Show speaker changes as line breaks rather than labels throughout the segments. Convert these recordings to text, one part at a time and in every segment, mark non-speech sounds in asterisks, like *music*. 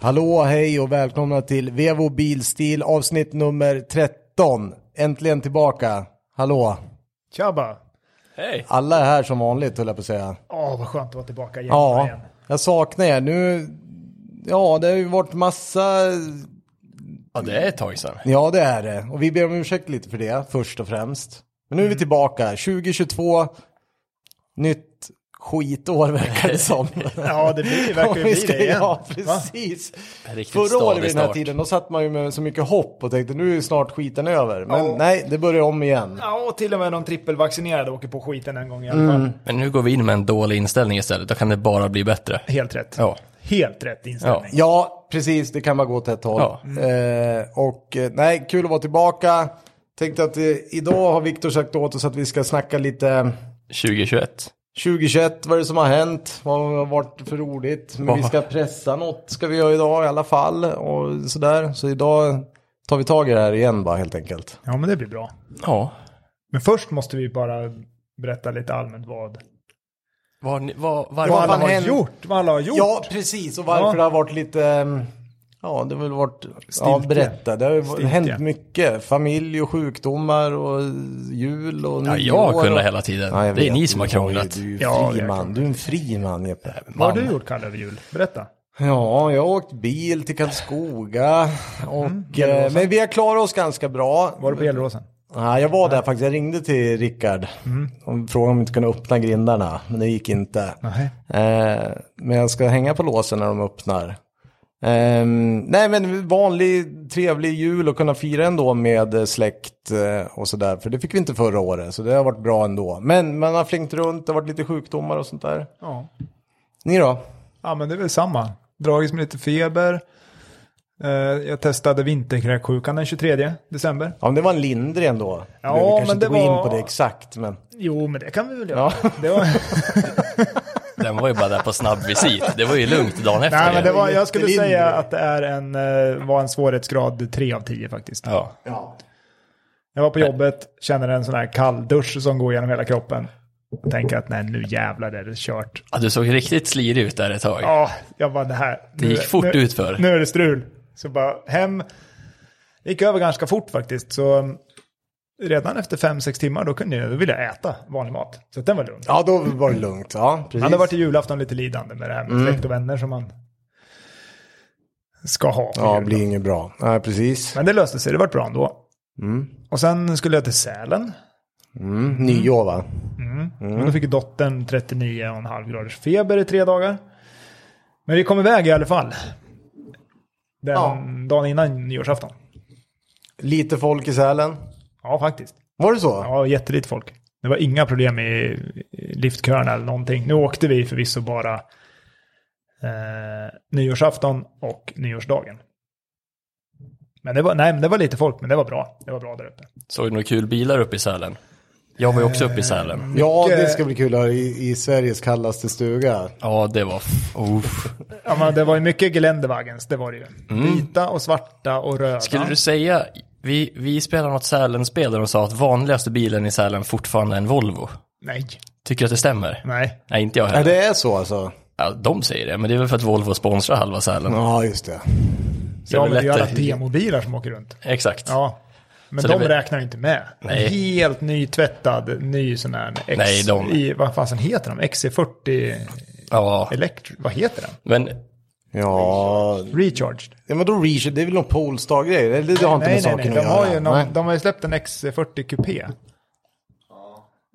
Hallå, hej och välkomna till Vevo Bilstil avsnitt nummer 13. Äntligen tillbaka. Hallå.
Tjabba!
Hej!
Alla är här som vanligt höll jag på att säga.
Åh, vad skönt att vara tillbaka igen.
Ja,
igen.
jag saknar er. Nu, ja, det har ju varit massa,
Ja, det är ett tag sedan.
ja det är det. Och vi ber om ursäkt lite för det, först och främst. Men nu är vi tillbaka, 2022, nytt skitår verkar det som.
*laughs* ja det blir,
Om
verkar ju
vi
bli
ska-
det igen.
Ja,
Va?
precis.
Riktigt
Förra året vid den här
start.
tiden, då satt man ju med så mycket hopp och tänkte nu är snart skiten över. Men nej, det börjar om igen.
Ja, och till och med de trippelvaccinerade åker på skiten en gång i alla fall.
Men nu går vi in med en dålig inställning istället. Då kan det bara bli bättre.
Helt rätt.
Ja.
Helt rätt
Ja.
inställning.
Ja, precis, det kan bara gå åt ett håll.
Ja.
Eh, och eh, nej, kul att vara tillbaka. Tänkte att eh, idag har Viktor sagt åt oss att vi ska snacka lite
2021.
2021, vad är det som har hänt? Vad har varit för roligt? Men vi ska pressa något, ska vi göra idag i alla fall. Och sådär. Så idag tar vi tag i det här igen bara helt enkelt.
Ja. men det blir bra.
Ja.
Men först måste vi bara berätta lite allmänt vad,
Var, ni- var,
Vad
vad
var,
alla
fan
har
händer?
gjort. Vad alla har gjort.
Ja, precis. Och varför
Ja.
det har varit lite... ehm, Ja, det har väl varit... Ja,
Stiltje.
berätta. Det har ju
Stiltje.
hänt mycket. Familj och sjukdomar och jul och
ja,
nyår
jag kunde
och...
hela tiden.
Ja, jag
det är
vet.
ni som har
Du
krånglat.
Du är ju
Ja,
fri
jag
man. Du är en fri man, Jeppe.
vad har du gjort, Kalle, över jul? Berätta.
Ja, jag har åkt bil till Karlskoga. Och,
Mm.
eh, men vi har klarat oss ganska bra.
Var du på Gelleråsen?
Nej, jag
Mm.
var där faktiskt. Jag ringde till Rickard och frågade om vi inte kunde öppna grindarna, men det gick inte.
Nej.
Eh, men jag ska hänga på låsen när de öppnar. Ehm, nej, men vanlig trevlig jul och kunna fira ändå med eh, släkt eh, och sådär. För det fick vi inte förra året, så det har varit bra ändå. Men man har flängt runt, det har varit lite sjukdomar och sånt där.
Ja.
Ni då?
ja, men det är väl samma. Dragits med lite feber. Eh, Jag testade vinterkräksjukan den 23 december.
Ja, men det var en lindrig ändå.
Ja,
vi kanske
men
inte
det
gå
var-
in på det exakt, men...
Jo, men det kan vi väl göra.
Ja.
*laughs* Det var...
Den var ju bara där på snabb visit. Det var ju lugnt dagen efter.
Nej, men det
igen.
var, jag skulle
Jättelindrig.
säga att det är en, eh, var en svårighetsgrad 3 av 10 faktiskt.
Ja.
Jag var på jobbet, känner en sån här kall dusch som går genom hela kroppen. Och tänker att nej, nu jävlar är det kört.
ja, du såg riktigt slirig ut där ett tag.
Ja, jag bara det här.
Det gick fort
nu,
utför.
Nu är det strul. Så bara hem. Det gick över ganska fort faktiskt. Så um, redan efter 5-6 timmar då kunde jag, då ville jag äta vanlig mat. Så att den var lugn.
Ja, då var det lugnt. Ja, precis.
Det hade varit i julafton lite lidande med det här med
Mm.
släkt och vänner som man ska ha. på
Ja,
julen.
blir inget bra. Nej, precis.
Men det löste sig, det vart bra ändå. Och sen skulle jag till Sälen.
Mm, nyår, va?
Mm.
Men då fick dottern 39,5 graders feber i tre dagar. Men vi kom iväg i alla fall. Den
Ja.
dagen innan nyårsafton.
Lite folk i Sälen.
Ja, faktiskt.
Var det så?
Ja, jättelite folk. Det var inga problem i i liftköerna eller någonting. Nu åkte vi förvisso bara eh, nyårsafton och nyårsdagen. Men det, var, nej, men det var lite folk, men det var bra. Det var bra där uppe.
Såg du några kul bilar uppe i Sälen? Jag var ju också uppe i Sälen.
Ja,
Mycket-
det ska bli kul att ha i, i Sveriges kallaste stuga.
Ja, det var... Uff.
Ja, men det var ju mycket Geländewagens, det var det ju. Vita och svarta och röda.
Mm. Skulle du säga, vi, vi spelade något Sälen-spel där de sa att vanligaste bilen i Sälen fortfarande är en Volvo.
Nej,
Tycker du att det stämmer?
nej.
Nej, inte jag
Ja,
heller.
det Mm. är så alltså?
Ja, de säger det, men det är väl för att Volvo sponsrar halva Sälen.
Ja, just det.
Så
Ja,
är
men det är ju alla
lättare-
demobilar som åker runt.
Exakt.
Ja. Men
Så
de
det är väl-
räknar ju inte med.
Nej.
Helt nytvättad, ny sån här X...
Nej, de-
I, vad fasen heter de? XC40
Ja.
Electric? Vad heter den?
Men
Ja,
Recharged?
ja men då Richard, det är väl någon Polestar-grej? Det, det har inte
Nej,
med
nej,
saken
nej.
att
De
göra.
har, ju
Nej.
någon, de har ju släppt en E XC40 Coupé.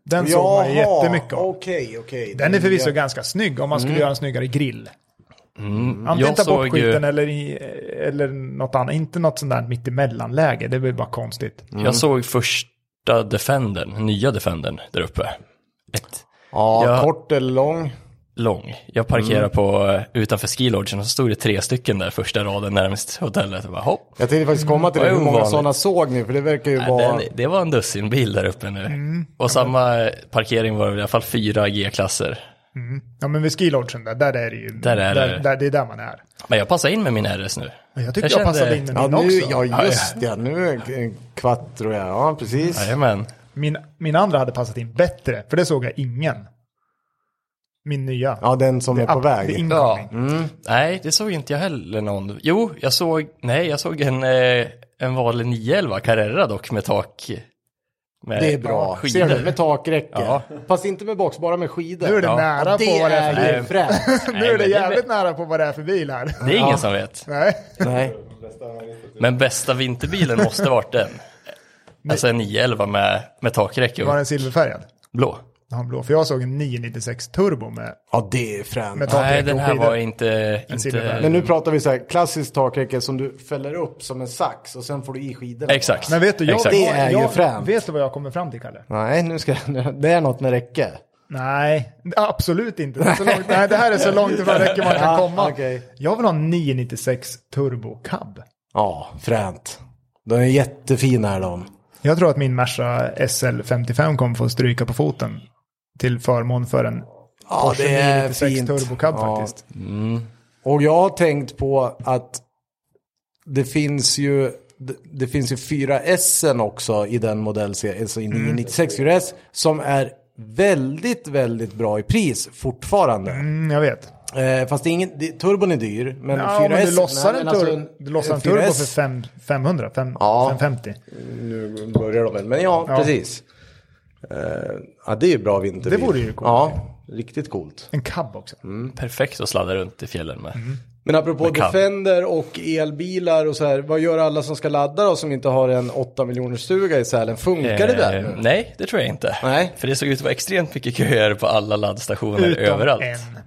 Den såg man ju
Jaha,
jättemycket om.
Okej, okej.
Den är förvisso ganska snygg om man skulle göra en snyggare grill. Antingen
Mm. jag
ta bort
såg ju-
skiten eller, i, eller något annat. Inte något sånt där mittemellanläge. Det blir bara konstigt.
jag såg första Defendern, nya Defendern där uppe. Ett
Ja,
Ja.
kort eller lång.
lång. Jag parkerade på eh, utanför skilodgen och så stod det tre stycken där första raden närmast hotellet. Och bara, hopp.
Jag tänkte faktiskt komma till det,
Vad
hur många
ovanligt.
sådana såg ni? För det verkar ju vara...
Den, det var en dussinbil där uppe nu. Och samma eh, parkering var det i alla fall fyra G-klasser.
Mm. Ja men vid skilodgen där, där är det ju.
Där är
där,
det.
Där, det är där man är.
Men jag passade in med min RS nu.
Men jag tyckte jag,
kände-
passade in med
Ja,
min
nu,
också.
ja, just det. Nu är en quattro, ja. Ja, precis.
Jajamän.
Min, min andra hade passat in bättre, för det såg jag ingen. Min nya.
Ja, den som är på
up- det är
väg.
in-
Ja.
Mm.
Nej, det såg inte jag heller någon. Jo, jag såg, nej, jag såg en, eh, en vanlig 911 Carrera dock med tak. Med
Det är bra. Ser du? Med takräcke.
Eh, Ja.
Fast inte med box, bara med skidor.
Nu är det nära på
Det
vad det är
är
för
Nej.
bil.
ju fränt.
*laughs*
Nej,
Nu är
men
det jävligt
Det,
nära på vad det är för bil här.
det är ingen som vet.
Nej.
Nej.
Men bästa vinterbilen måste varit den. Alltså en 911 med, med takräcke
Var
och
den silverfärgad?
blå.
Ja, blå. För jag såg en 996 turbo med...
Ja, det är fränt.
Med tak-
Nej,
Takräcke
den
och
här
skidor.
var inte...
silverfärg.
inte
Men nu pratar vi så här, klassiskt takräcke som du fäller upp som en sax och sen får du i skidorna.
exakt.
Men vet du, jag,
exakt.
Det är ju
jag,
fränt.
Vet du vad jag kommer fram till, Kalle?
Nej, nu ska jag, *laughs* det är något med räcke.
Nej, absolut inte. Det, är så långt, nej, det här är så långt ifrån räcker man kan
Ja,
komma.
okej.
Jag vill ha en 996 turbo cab.
Ja, fränt. De är jättefina är de.
Jag tror att min Merca SL55 kommer få stryka på foten till förmån för en
Ja,
Porsche
det är
996
fint.
turbo cab
Ja.
faktiskt.
Och jag har tänkt på att det finns ju, det, det finns ju 4S också i den modellserien, alltså i
Mm.
996 4S, som är väldigt, väldigt bra i pris fortfarande.
Mm, jag vet.
Eh, fast det är ingen, det, turbon är dyr, men
Ja,
4S...
men du lossar
nej,
en,
men alltså
tur- du lossar en turbo
4S
för fem, 500, fem,
Ja.
550.
Nu börjar de väl, men ja,
Ja.
precis. Eh, ja, det är ju bra vinterbil.
Det vore ju coolt.
Ja, riktigt coolt.
En cab också.
Mm,
Perfekt att sladda runt i fjällen med.
Mm.
Men apropå
kan.
Defender och elbilar och så här, vad gör alla som ska ladda då som inte har en 8 miljoner stuga i Sälen? Funkar det där?
Eh,
nu?
Nej, det tror jag inte.
Nej.
För det såg ut att vara extremt mycket köer på alla laddstationer överallt.
en.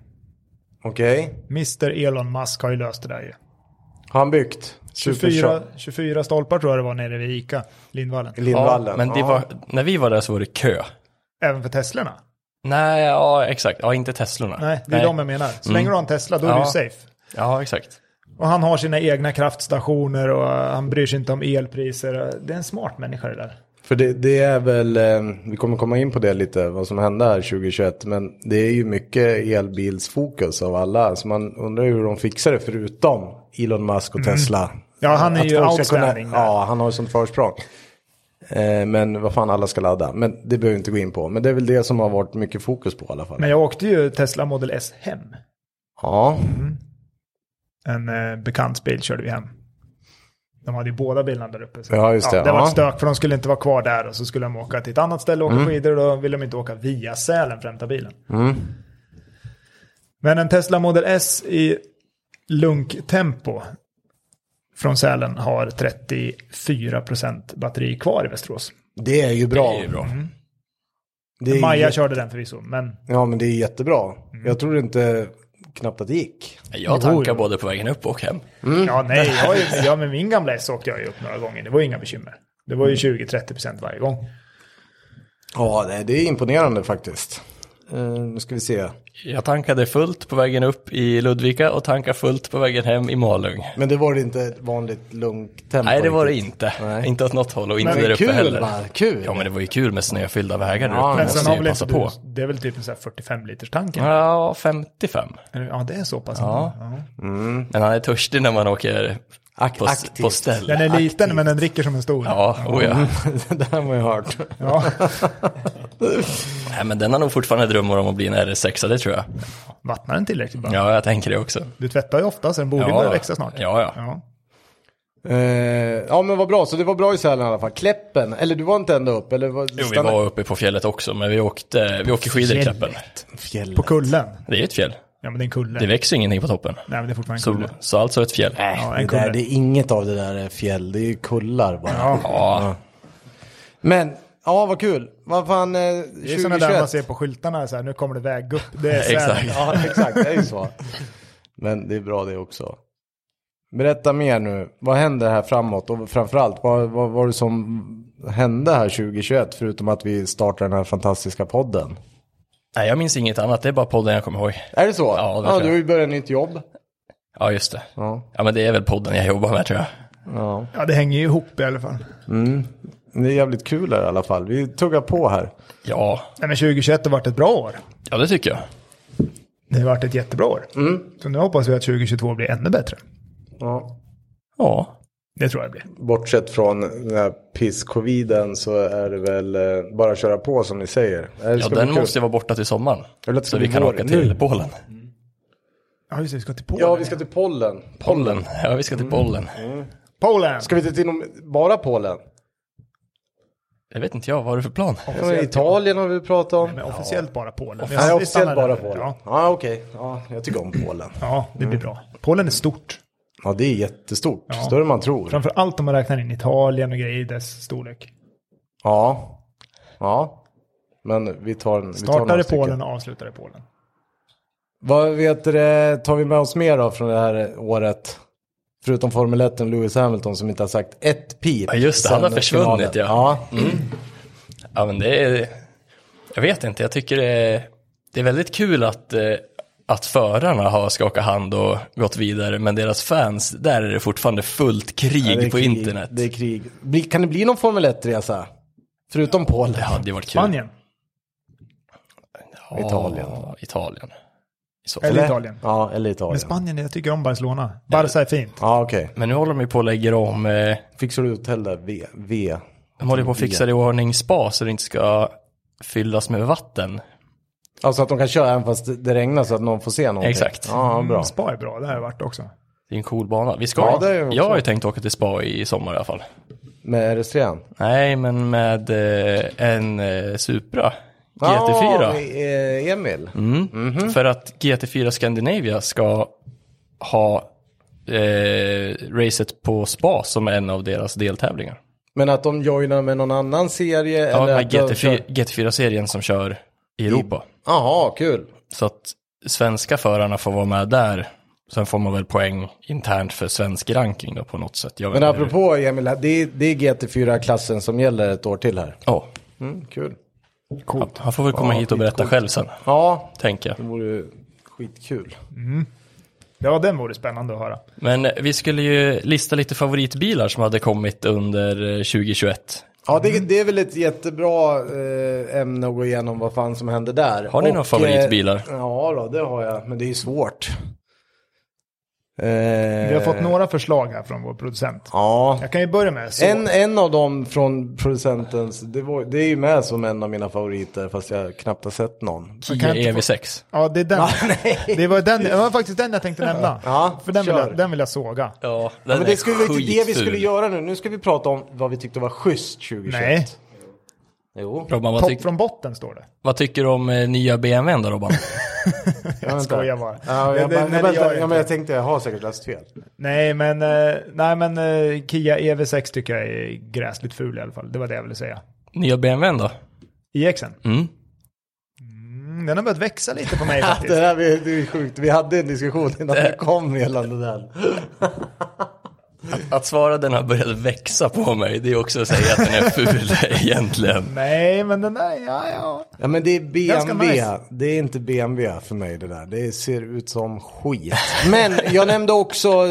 Okej,
Mr Elon Musk har ju löst det där ju.
har han byggt?
24,
Supershop
24 stolpar tror jag det var nere vid Ica, Lindvallen.
i
Ja,
Lindvallen?
men det
Ja.
var, när vi var där så var det kö.
Även för Teslorna.
Nej, ja exakt. Ja, inte Teslorna.
Nej, det är de jag menar.
Mm.
Så länge du har en Tesla, då är
Ja.
du ju safe.
Ja, exakt.
Och han har sina egna kraftstationer och eh, han bryr sig inte om elpriser. Det är en smart människa det där.
För det, det är väl, eh, vi kommer komma in på det lite, vad som hände här 2021, men det är ju mycket elbilsfokus av alla, så man undrar ju hur de fixar det förutom Elon Musk och Tesla.
Mm. Ja, han är
Att
ju
folk ska
outstanding där.
Ja, han har ju sånt försprång. Eh, men vad fan alla ska ladda, men det behöver vi inte gå in på. Men det är väl det som har varit mycket fokus på i alla fall.
Men jag åkte ju Tesla Model S hem.
Ja,
En eh, bekants bil körde vi hem. De hade ju båda bilarna där uppe. Så.
Ja, just det.
det var
Ja.
ett stök för de skulle inte vara kvar där och så skulle de åka till ett annat ställe och
Mm.
åka skidor och då ville de inte åka via Sälen för att hämta bilen. Men en Tesla Model S i lunktempo från Sälen har 34% batteri kvar i Västerås.
det är ju bra.
Det är ju bra.
Mm. Det är
Maja Mm.
jätte-
körde den förvisso, men
Ja, men det är jättebra. Jag tror inte knappt att det gick.
Jag tankar både på vägen upp och hem.
ja, nej, jag, har ju- ja, med min gamla S åkte jag ju upp några gånger. Det var ju inga bekymmer. Det var ju
Mm.
20-30% varje gång.
Ja, det- det är imponerande faktiskt. Eh, nu ska vi se.
Jag tankade fullt på vägen upp i Ludvika och tankar fullt på vägen hem i Malung.
Men det var det inte ett vanligt lugnt tempo?
Nej, det var det
riktigt.
inte.
Nej.
Inte åt något håll och inte
Men
där uppe
kul,
heller.
va? Kul.
Ja, men det var ju kul med snöfyllda vägar där
Ja,
uppe.
men
Men
måste
sen har
ju
väl
passa
inte
på.
du, det är väl typ en sån här 45 liters tanke?
Ja, 55.
Eller, Ja, det är så pass. Ja.
Men han är törstig när man åker
Ak-
på,
aktivt.
på ställ.
Den är liten men den dricker som en stor.
Ja, oh ja.
*laughs* det där har man ju hört.
Ja.
Nej, men den har nog fortfarande drömmar om att bli en RS6, det tror jag.
Vattnar den tillräckligt bara?
Ja, jag tänker det också.
Du tvättar ju ofta så den borde ju
Ja.
börja växa snart.
Ja, ja.
Eh, ja, men vad bra. Så det var bra i Sälen i alla fall. Kläppen, eller du var inte ända upp? Eller var,
Jo, vi var uppe på fjället också, men vi åkte, vi åkte skidor i
Fjället.
Kläppen.
fjällen.
På kullen.
Det är ett fjäll.
Ja, men det är en kulle.
Det växer ingenting på toppen.
Nej, men det är fortfarande en
Så,
Mm.
kulle.
så alltså ett fjäll.
Ja,
det, där,
en kulle.
det är inget av det där är fjäll, det är ju kullar bara.
Ja,
Men, ja vad kul. Vad fan, eh,
Det är sådana där man
2021.
ser på skyltarna, så här, nu kommer det väggupp. Det
*laughs*
är så här,
exakt.
Ja, exakt, det är ju så. Men det är bra det också. Berätta mer nu, vad händer här framåt och framförallt vad, vad var det som hände här 2021 förutom att vi startade den här fantastiska podden?
Nej, jag minns inget annat, det är bara podden jag kommer ihåg.
Är det så?
Ja, det tror
ja
jag.
du har ju börjat nytt jobb.
Ja, just det.
Ja.
Ja, men det är väl podden jag jobbar med tror jag.
ja.
Ja, det hänger ju ihop i alla fall.
Det är jävligt kul här i alla fall, vi tuggar på här.
Ja,
Nej, men 2021 har varit ett bra år.
ja det tycker jag.
Det har varit ett
Mm.
jättebra år. Så nu hoppas vi att 2022 blir ännu bättre.
Ja.
Ja,
Det tror jag det blir.
Bortsett från den här piss-coviden så är det väl eh, bara att köra på som ni säger.
Ja, den måste ju vara borta till sommaren.
vill att det
Så
ska
vi
bli
kan
vår
åka
nu.
till Polen.
Ja, just det, vi ska till Polen.
Ja, vi ska till Pollen.
Pollen. Ja, vi
Mm.
ska till Pollen.
Polen!
Ska vi inte till någon- bara Polen?
Jag vet inte jag, vad har du för plan?
Ja, men Italien har vi pratat om.
Men officiellt bara Polen. Men
Nej,
vi
officiellt
stannar
bara
där.
Polen. Mm.
Ja,
Ja, okej. Ja, jag tycker om Polen.
ja det blir bra. Polen är stort.
Ja, det är jättestort.
Ja.
Större än man tror.
Framför allt om man räknar in Italien och grejer i dess storlek.
Ja. Ja. Men vi tar en... vi tar
Startar
några
i
stycken.
Polen och avslutar i Polen.
Vad vet du, det, tar vi med oss mer då från det här året? Förutom Formel 1 och Lewis Hamilton som inte har sagt ett pip.
Ja, just det. Han har
sedan finalen.
försvunnit, ja.
ja.
Ja, men det är... Jag vet inte, jag tycker det är, det är väldigt kul att, eh, att förarna har skakat hand och gått vidare, men deras fans, där är det fortfarande fullt krig
Det är
på
krig,
internet.
Det är krig. Bli- Kan det bli någon Formel 1-resa? Förutom Polen.
Det hade ju varit kul.
Spanien.
Ja,
Italien.
Italien. I så fall.
Eller Italien.
Ja, eller Italien.
Men Spanien, jag tycker om Barcelona. Barca är fint.
Ja, okej.
Men nu håller de ju på att lägga om, eh,
Fixar du hotell där? V. v.
de håller ju på att fixa det i ordning spa så det inte ska fyllas med vatten.
Alltså att de kan köra även fast det- det regnar så att någon får se någonting.
Exakt. Mm.
Ja, bra.
Mm, Spa är bra, det har jag varit också.
Det är en cool bana. Vi ska,
Ja, det är ju också-
jag har ju tänkt åka till spa i sommar i alla fall.
Med RS3?
Nej, men med eh, en eh, Supra
Ja,
GT4.
eh, Emil.
Mm. För att GT4 Scandinavia ska ha eh, racet på spa som en av deras deltävlingar.
Men att de joinar med någon annan serie?
Ja,
eller
med
att de
GT4,
kör-
GT4-serien som kör i Europa.
Jaha, kul.
Så att svenska förarna får vara med där. Sen får man väl poäng internt för svensk ranking då på något sätt. Jag vet
Men
inte hur-
apropå Emil, det är, det är GT4-klassen som gäller ett år till här.
Ja,
Mm, kul.
han- han får väl komma hit och berätta själv sen,
Ja,
tänker jag.
det vore ju skitkul.
Ja, den vore spännande att höra.
Men eh, vi skulle ju lista lite favoritbilar som hade kommit under eh, 2021.
Ja, det, det är väl ett jättebra eh, ämne att gå igenom vad fan som hände där.
Har ni några favoritbilar?
Eh, ja, då, det har jag, men det är ju svårt. Eh,
Vi har fått några förslag här från vår producent.
Ja.
Jag kan ju börja med så.
En, en av dem från producentens, det, var, det är ju med som en av mina favoriter fast jag knappt har sett någon.
kan jag
Kia
inte få-
EV6.
Ja, det är den. det, var den. det var faktiskt den jag tänkte nämna.
Ja,
För den vill,
kör.
jag, den vill jag såga.
Ja, den
Men det skulle
typ
inte det vi skulle
skitful.
göra nu, nu ska vi prata om vad vi tyckte var schysst 2021.
Nej,
Jo,
Robban, vad,
topp
tyck,
från botten står det.
vad tycker du om eh, nya BMWn då Robban?
jag
skojar bara.
Ja, jag,
Det- det-
bara,
nej,
nej,
det
vänta,
gör jag
ja, men jag
inte.
tänkte jag har säkert läst fel.
Nej, men, eh, nej, men eh, Kia EV6 tycker jag är gräsligt ful i alla fall. Det var det jag ville säga.
nya BMWn då?
IXen.
Mm.
Mm, den har börjat växa lite på mig
Det
faktiskt.
där vi- det är sjukt, vi hade en diskussion innan vi kom gällande den.
Att svara den har börjat växa på mig, det är också att säga att den är ful *laughs* egentligen.
Nej, men den där, ja, ja.
Ja men det är
Ganska
BMW,
nice.
det är inte BMW för mig det där. Det ser ut som skit. Men jag nämnde också,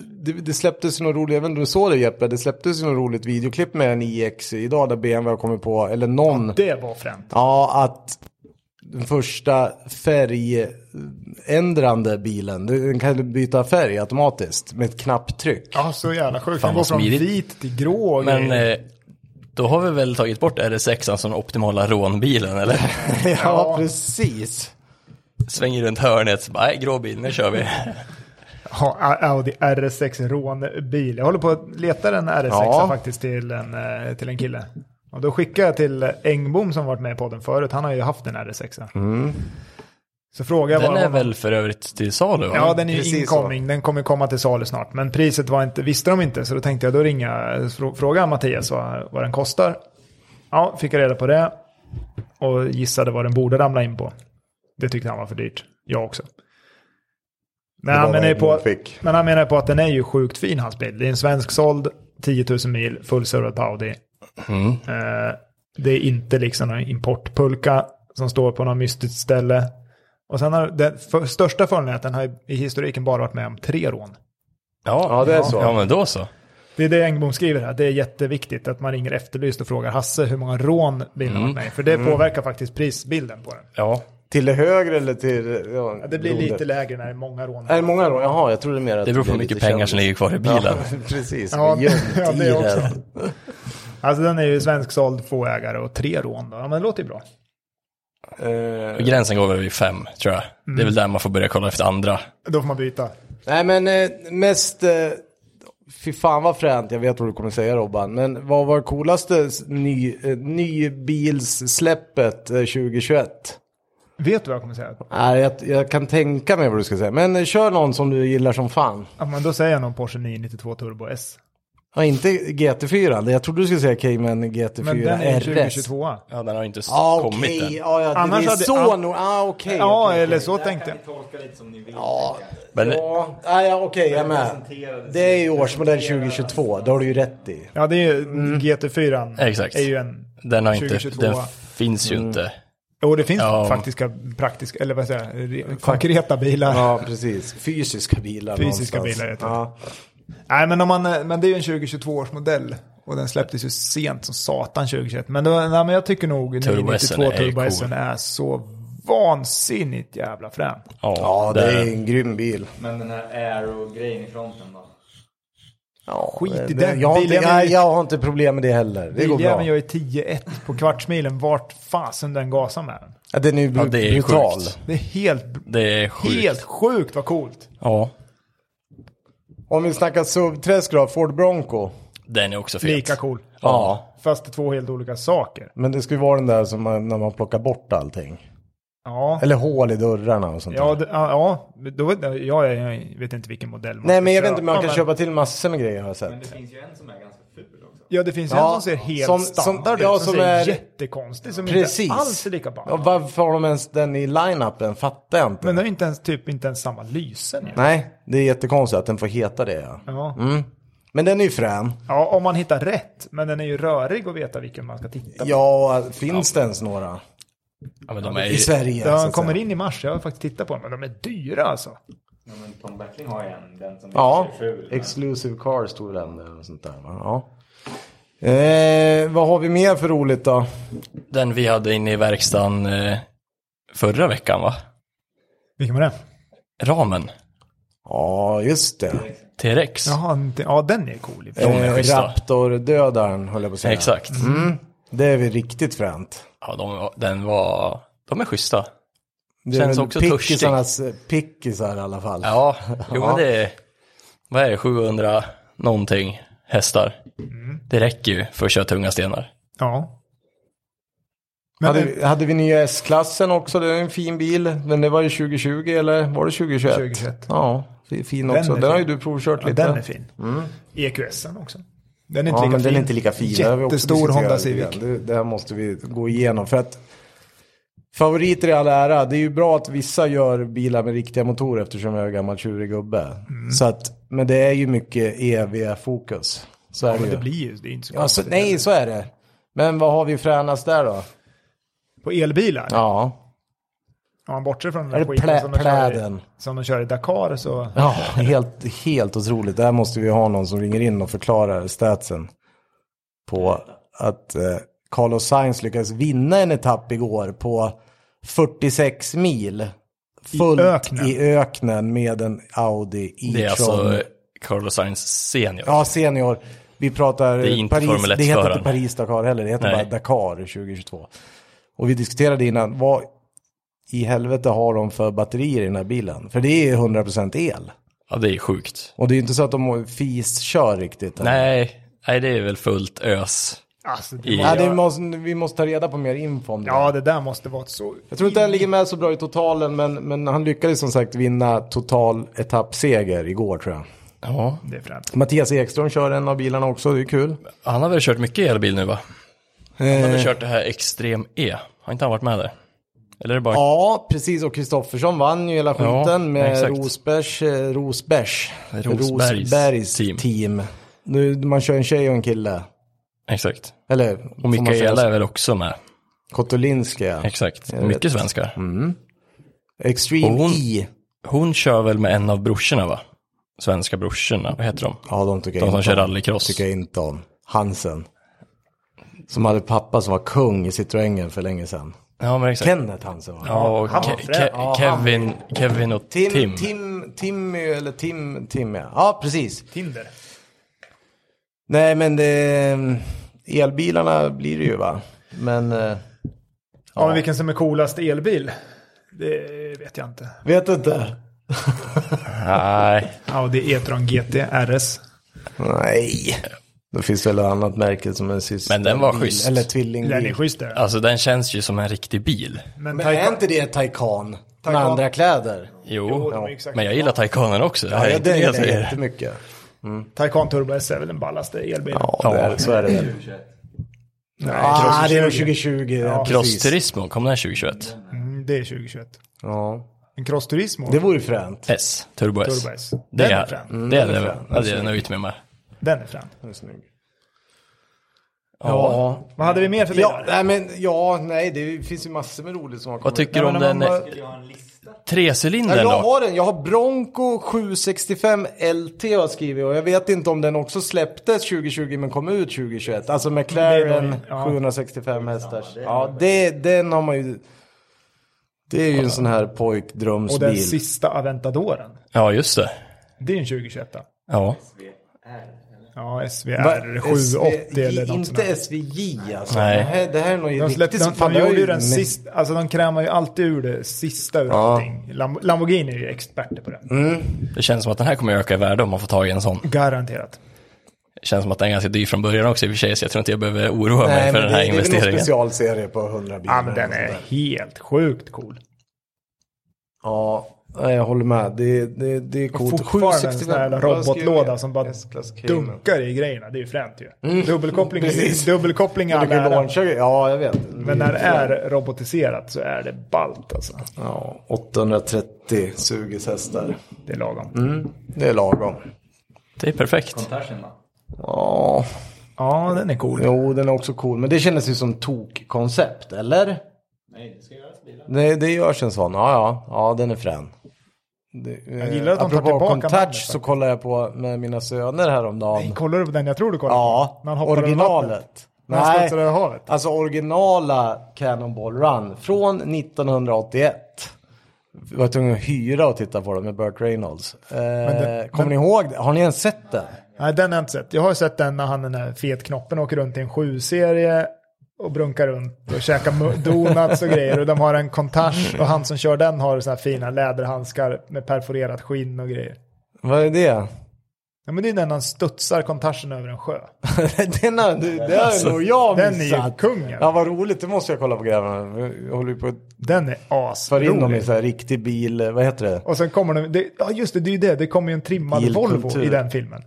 det, det släpptes ju något roligt, jag vet inte om du såg det Jeppe, det släpptes ju något roligt videoklipp med en IX idag där BMW har kommit på, eller någon,
Det var fränt.
ja att den första färgändrande bilen, den kan byta färg automatiskt med ett knapptryck.
Ja, så jävla sjukt.
Fan,
Den går
vad
från
smidigt.
vit till grå. och
Men
grejer.
eh, då har vi väl tagit bort RS6 som den optimala rånbilen *laughs* eller?
*laughs* Ja, precis.
Svänger runt hörnet, så bara, nej grå bil, nu kör vi.
Ja, A- Audi RS6 rånbil. Jag håller på att leta en RS6
Ja.
faktiskt till en, eh, till en kille. Och då skickar jag till Engbom som varit med i podden förut. Han har ju haft en RS6.
Mm.
Så frågar jag
Den
bara
är
honom.
väl för övrigt till salu? va?
Ja, den är
Precis
ju incoming. Den kommer komma till salu snart. Men priset var inte, visste de inte. Så då tänkte jag då ringa, frå- fråga Mattias vad, vad den kostar. Ja, fick jag reda på det. Och gissade vad den borde ramla in på. Det tyckte han var för dyrt. Jag också. Men
Det
han,
var
menar ju
vad
på,
hon fick.
men han menar på att den är ju sjukt fin hans bil. Det är en svensk såld, 10 000 mil, fullservad på Audi.
Mm.
Eh, det är inte liksom någon importpulka som står på något mystiskt ställe. Och sen har den för, största fördelen är att den har i historiken bara varit med om tre rån.
Ja,
Ja, det är så.
Ja, men då så.
Det är det Engblom skriver här, det är jätteviktigt att man ringer
Mm.
efterlyst och frågar Hasse hur många rån bilen har varit med i, För det påverkar faktiskt prisbilden på den.
Ja,
Till det högre eller till... Ja,
Ja, det blir
beroende.
lite lägre när det är många rån.
Är det många då? Jaha, jag tror det är mer att
Det beror på hur
blir
mycket
lite
pengar
kändis.
som ligger kvar i bilen.
Ja, *laughs* precis.
Ja,
Gömt
ja, det
i
också.
den.
Alltså den är ju svensksåld, få ägare och tre rån då. Ja, men det låter ju bra.
Eh,
Gränsen går väl vid fem, tror jag. Det är väl där man får börja kolla efter andra.
Då får man byta.
nej, men eh, mest... Eh, fy fan vad fränt, jag vet vad du kommer säga Robban. Men vad var coolaste s- ny, eh, nybilssläppet eh, 2021?
Vet du vad jag kommer säga?
Nej, jag, jag kan tänka mig vad du ska säga. Men eh, kör någon som du gillar som fan.
Ja, men då säger jag någon Porsche 992 Turbo S.
Ja, inte GT4. Jag trodde du skulle säga Cayman GT4
Men den är ju
RS.
2022.
Ja, den har inte s-
Ja,
kommit
Ah, okej.
än.
Ja, ja, det,
Annars
det är
hade-
så
ja.
nog. Ah, okej.
Ja,
okej,
eller
okej.
så tänkte jag.
Tolka lite som ni vill.
Ja,
Men
ja. Nej, ja, okej, jag är med.
Presenterades-
Det är ju årsmodell 2022, det har du ju rätt i.
Ja, det är ju GT4.
Exakt.
Är ju en...
den, har inte,
2022.
den finns ju inte.
Jo, det finns
Ja.
faktiska, praktiska, eller vad säger jag, re- konkreta bilar.
Ja, precis. Fysiska bilar
Fysiska
någonstans.
bilar heter det.
ja.
Nej, men, om man, men det är ju en 2022 års modell. Och den släpptes ju sent som satan 2021. Men, det var, nej, men jag tycker nog
Turbo S
992
är ju
Turbo S
cool.
är så vansinnigt jävla frän.
Ja,
ja, det
där-
är en grym bil.
Men den här aero-grejen i fronten då?
Eh, Ja,
Skit i
det-
den.
Jag har, inte,
Biljäveln-
nej, jag har inte problem med det heller. Det går bra.
Biljäveln gör ju 10-1 på kvartsmilen. Vart fasen den gasar med den.
Ja, den är ju bru-
Ja, det är
brutal.
sjukt.
Det är helt,
Det är sjukt.
helt sjukt vad coolt.
Ja,
Om vi snackar SUV-träsk då, Ford Bronco.
den är också fet.
Lika cool.
Ja.
Fast det är två helt olika saker.
Men det ska ju vara den där som man, när man plockar bort allting.
Ja.
Eller hål i dörrarna och sånt där.
Ja, det, ja, ja då, vet jag, jag, jag vet inte vilken modell man
Nej,
ska
men jag vet
köpa,
inte, man kan
men-
köpa till massor med grejer har jag
Men det
sett.
finns ju en som är ganska ful också.
Ja, det finns
Ja,
en som ser helt
som- som-
standard ut.
ja,
som,
som
ser
är-
jättekonstig. Som
Precis.
inte alls är lika ball.
Ja, varför har de ens den i line-upen? Fattar jag inte.
Men den har inte ens, typ, inte ens samma lysen. ju.
Nej, Mm. det är jättekonstigt att den får heta det. Ja.
Ja.
Men den är ju frän.
ja, om man hittar rätt. Men den är ju rörig att veta vilken man ska titta på.
Ja, finns det ens några?
Ja, men de är
I
ju...
Sverige? så
Den
att
kommer
säga.
in i mars, jag har faktiskt tittat på den, men de är dyra alltså.
Ja, men Tom Bertling har ju en, den som
Ja,
är ful. men-
Exclusive Car stod den där och sånt där. Va? Ja. Eh, vad har vi mer för roligt då?
Den vi hade inne i verkstaden eh, förra veckan, va?
Vilken var det?
Ramen.
Ja, just det.
T-Rex.
Jaha, inte, ja den är cool. i och för sig.
är
Eh,
schyssta.
Raptor-dödaren höll jag på att säga.
Exakt.
Mm. Det är väl riktigt fränt.
Ja, de, den var... De är schyssta.
Det är
Känns
väl
också
pickisarnas pickisar i alla fall. *laughs*
Ja, jo men det är... Vad är det? 700 någonting hästar.
Mm.
Det räcker ju för att köra tunga stenar.
Ja. Men
Hade,
den,
vi- hade vi nya S-klassen också, det är en fin bil. Men det var ju 2020 eller var det 2021?
2021.
Ja, det är fin också. Den,
är
har ju
fin.
du provkört
ja,
lite.
den är fin. EQSen också. Den är
Mm. Ja,
inte
men
lika fin.
den är inte lika fin. Det har vi också
Jättestor
diskuterat
Honda
lite
Civic.
grann. Det, det här måste vi gå igenom. För att favoriter i all ära, det är ju bra att vissa gör bilar med riktiga motorer eftersom jag är gammal tjurig gubbe.
Mm.
Så att, men det är ju mycket EV-fokus. Så är
Ja,
det
men
ju.
det blir ju, det är inte så
Ja, så,
konstigt.
nej, så är det. Men vad har vi fränast där då?
På elbilar?
Ja,
Om man bortser från
Är
den
det
där skiten som,
plä-
de kör
pläden?
i- som de kör i Dakar så...
Ja, *laughs* helt, helt otroligt. Där måste vi ha någon som ringer in och förklarar statsen på att eh, Carlos Sainz lyckades vinna en etapp igår på 46 mil. Fullt i öknen,
öknen.
med en Audi e-tron.
Det är alltså Carlos Sainz senior.
Ja, senior. Vi pratar
är inte
Paris.
Formel
Det heter inte
1-föraren.
Paris-Dakar heller. Det heter
Nej.
bara Dakar 2022. Och vi diskuterade innan, vad i helvete har de för batterier i den här bilen? För det är 100% el.
Ja, det är sjukt.
Och det är ju inte så att de fis-kör riktigt. eller?
Nej, nej, det är väl fullt ös.
Alltså, det
I-
var-
Nej, det måste, vi måste ta reda på mer info om det.
Ja, det där måste vara ett så...
Jag tror inte han ligger med så bra i totalen, men, men han lyckades som sagt vinna total etappseger igår tror jag.
Ja.
Det är fränt.
Mattias Ekström kör en av bilarna också, det är kul.
Han har väl kört mycket elbil nu va? Han har
Eh,
väl kört det här Extrem E. Har inte han varit med där? Eller är det bara...
ja, precis. Och Kristoffersson vann ju hela skiten
Ja,
med
exakt.
Rosbergs, eh, Rosbergs,
Rosbergs
team.
team.
Nu, man kör en tjej och en kille.
Exakt.
Eller,
Och
får man säga
Mikaela
så?
är väl också med.
Kotolinska. ja.
Exakt. Mycket svenskar.
Mm. Extreme
Och hon-
E.
Hon kör väl med en av brorsorna va? Svenska brorsorna, vad heter de?
Ja, de tycker
De
jag
som
inte
kör
om.
rallycross.
tycker jag inte om. Hansen. Som hade pappa som var kung i Citroengen för länge sedan.
Ja, men exakt.
Kenneth han så.
ja, och
han var
Ke-
frä-
Ke-
ja, han-
Kevin, Kevin och
Tim,
Tim.
Tim. Tim, Timmy eller Tim, Tim ja. ja precis.
Tinder.
Nej men det, elbilarna blir det ju va. Men eh,
Ja, men vilken som är coolast elbil? Det vet jag inte.
vet du inte.
Nej,
Audi E E-tron GT RS.
Nej. Det finns väl ett annat märke som en syster.
Men den var schysst.
Eller
Den är
tvillingbil.
schysst där.
alltså den känns ju som en riktig bil.
Men,
Men
Taycan-
är inte det Taycan? Med
Taycan.
andra kläder?
Jo,
de är exakt
men jag gillar Taycanen också. det här är
jag
inte det jag
dänger
säger.
jättemycket.
Taycan Turbo S är väl den ballaste elbilen.
Ja, det är, så är det väl.
21.
Nej, Mm,
Ah, det är nog
2020.
2020. Ja,
Ja.
Cross
precis.
Turismo, kom den 2021?
Mm, det är 2021.
Ja.
En Cross Turismo.
Det vore ju fränt.
S, Turbo S.
Turbo S.
Det
Den är
är
frän.
det, är det,
den är
väl.
frän.
Ja, det är jag nöjt med. mig.
Den är frän.
Den är snygg.
Ja.
Ja.
Vad hade vi mer för
Ja, äh,
bilar?
nej, men, ja, nej, det finns ju massor med roligt som har kommit.
Vad tycker du
nej,
om
men
den eh,
man
Vill jag ha en lista?
Nej,
trecylindern
jag
då?
har den, jag har Bronco 765 LT har jag skrivit och jag vet inte om den också släpptes 2020 men kom ut 2021. Alltså McLaren
Det är då, ja.
765 hästars. Ja, det, den har man ju. Det är ju en sån här
Och den
pojkdrömsbil.
sista Aventadoren.
Ja, just det.
Det är en 2021.
Ja.
Ja,
Va-
SVR
SVJ
780 eller något sånt
Inte
där.
SVJ alltså.
Nej.
Det här, det här är nog
De,
riktigt...
släppte, de,
fan,
de
det har
gjorde ju
ju
den
med-
sista, alltså de krämar ju alltid ur det sista ur allting. Lam- Lamborghini är ju experter på det.
Det känns som att den här kommer öka i värde om man får tag i en sån.
Garanterat.
Det känns som att den är ganska dyr från början också i och för sig, så jag tror inte jag behöver oroa mig
Nej,
för
men
den
det,
här
det är väl någon
investeringen.
specialserie på 100 bilar.
Ja, men den är helt sjukt cool.
Ja, nej, jag håller med. Det, det, det är coolt.
Fortfarande en sån här jävla robotlåda som bara
S-klass Cayman.
dunkar i grejerna. Det är ju fränt ju. dubbelkoppling,
precis.
dubbelkoppling i
Ja,
all
du kan ju
ära.
launcha grejer. Ja, jag vet.
Men när det är robotiserat så är det ballt alltså.
Ja, 830 sugishästar.
Det är lagom.
Mm. Det är lagom.
Det är perfekt.
Kontarsen då?
Ja,
Ja, den är cool.
jo den är också cool. Men det kändes ju som tokkoncept, eller?
Nej, det ska göras bilar.
Det, det görs en sån. Ja, ja. Ja, den är frän. Det, jag
gillar att de tar
apropå
tillbaka namnet,
Contouch så kollar jag på med mina söner häromdagen.
Nej, Kollar du på den jag tror du kollar
Ja,
på? När han hoppar över vattnet.
originalet.
När han
Nej,
skuttar över havet.
alltså originala Cannonball Run från 1981. Vi var tvungna att hyra och titta på den med Burt Reynolds. Eh,
det-
kommer ni ihåg det? Har ni ens sett den?
Nej, den har jag inte sett. Jag har sett den när han den där fetknoppen åker runt i en 7-serie och brunkar runt och
*laughs*
käkar mu- donuts och grejer. Och de har en kontage och han som kör den har såna här fina läderhandskar med perforerat skinn och grejer.
Vad är det? *laughs*
Ja, men det är den han studsar kontaschen över en sjö.
den har, du- det har nog jag
Alltså, den är ju
missat.
kungen.
Ja, vad roligt. Det måste jag kolla på grabbarna. Jag håller ju på att
Den är
föra in dem i
asrolig.
så här riktig bil. eh, Vad heter det?
Och sen kommer de, det, ja just det, det är ju det, det kommer ju en trimmad
Bilkultur.
Volvo i den filmen.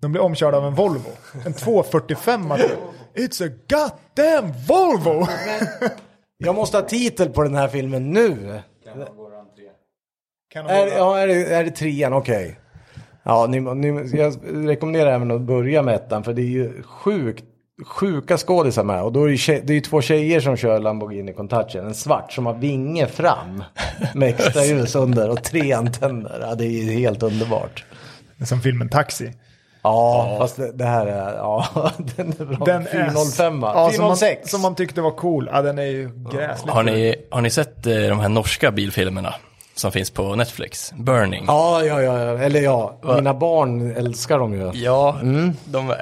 De blir omkörda av en Volvo. En 245 It's a goddamn Volvo!
Jag måste ha titel på den här filmen nu.
Kan man gå runt tre?
Kan de
Är,
hålla-
ja, är, det, är det trean? Okej. Ja, ni, ni, jag rekommenderar även att börja med ettan för det är ju sjukt, sjuka skådisar med. Och då är det, tje, det är ju två tjejer som kör Lamborghini Contouchen. En svart som har vinge fram med
*laughs*
extra ljus under och tre antenner. Ja, det är ju helt underbart.
Som filmen Taxi.
Ja, fast det, det här är, ja, *laughs* den är bra.
Den är-
405.
Ja, som, man,
406.
som man tyckte var cool. Ja, den är ju gräslig.
Har ni, har ni sett eh, de här norska bilfilmerna som finns på Netflix? Burning.
Ja, ja, ja, ja, eller ja, mina barn älskar dem ju.
Ja,
mm.
de,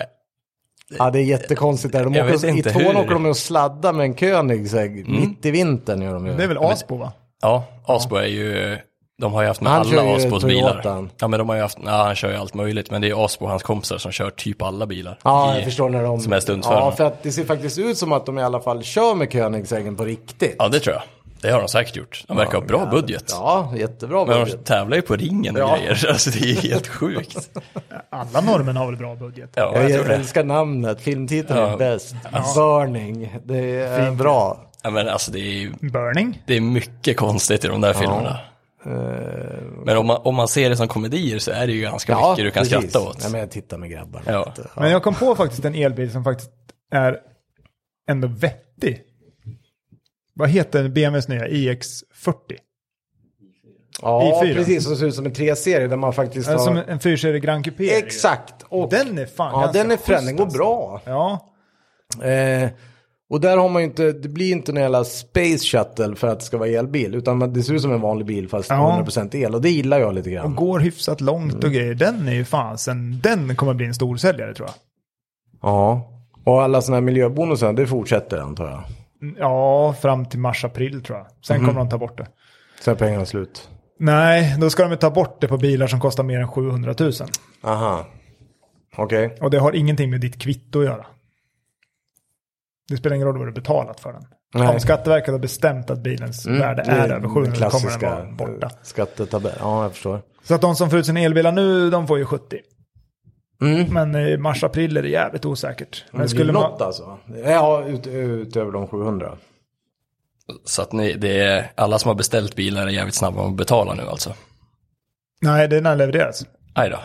Ja det är jättekonstigt där. De
Jag vet
åker, I
inte
tvåan
hur. Mm.
åker de och sladdar med en Koenigsegg mitt i vintern gör de ju.
Det är väl Asbo va?
ja, Asbo är ju, de har ju haft med
Han kör ju
alla Asbos
Toyotan.
bilar. Ja, men de har ju haft, nej, han kör ju allt möjligt, men det är Asbo och hans kompisar som kör typ alla bilar.
Ja,
i-
jag förstår när de...
som är stuntförarna.
Ja, för att det ser faktiskt ut som att de i alla fall kör med Koenigseggen på riktigt.
Ja, det tror jag. Det har de säkert gjort. De verkar ha bra budget.
Ja, jättebra
Men
budget.
de tävlar ju på ringen och
Ja.
grejer, *laughs* alltså det är
*laughs*
helt sjukt.
Alla norrmän har väl bra budget?
Ja,
Jag,
jag tror det.
älskar namnet, filmtiteln är
Ja.
bäst. Burning, det är eh, bra.
Ja, men alltså det är ju
Burning?
det är mycket konstigt i de där filmerna.
Eh,
Men om man, om man ser det som komedier så är det ju ganska mycket du kan
precis.
skratta åt.
Ja, men jag tittar med grabbarna.
Ja.
Men jag kom på faktiskt en elbil som faktiskt är ändå vettig. Vad heter BMWs nya iX40?
Ja,
I fyra.
precis, som ser ut som en treserie där man faktiskt
Äh, Som
har...
en fyrserie Grand Coupé. är det ju.
Exakt! Och...
Den är fan
Ja,
ganska alltså.
den är frän,
schysst
den går
alltså.
bra.
Ja,
Eh, Och där har man ju inte, det blir inte någon jävla space shuttle för att det ska vara elbil. Utan man- det ser ut som en vanlig bil fast
Ja.
100% el. Och det gillar jag lite grann.
Och går hyfsat långt och grejer. Den är ju fasen, den kommer bli en storsäljare tror jag.
Ja. Och alla sådana här miljöbonusar, det fortsätter antar jag.
Mm, Ja, fram till mars-april tror jag. Sen kommer de ta bort det.
Sen är pengarna slut.
Nej, då ska de ju ta bort det på bilar som kostar mer än 700 000.
Aha. Okej.
Och det har ingenting med ditt kvitto att göra. Det spelar ingen roll vad du betalat för den.
Nej. Mm,
Om Skatteverket har bestämt att bilens värde
Det
är över 700 000 kommer den
klassiska
vara borta.
skattetabell. Ja, jag förstår.
Så att de som får ut sina elbilar nu, de får ju 70.
Mm.
Men i mars-april är det jävligt osäkert. Men
Men
skulle man...
något alltså? Ja, ut, utöver de 700.
Så att ni, det är, alla som har beställt bilar är jävligt snabba med att betala nu alltså.
Nej, det är när den levereras.
Aj då.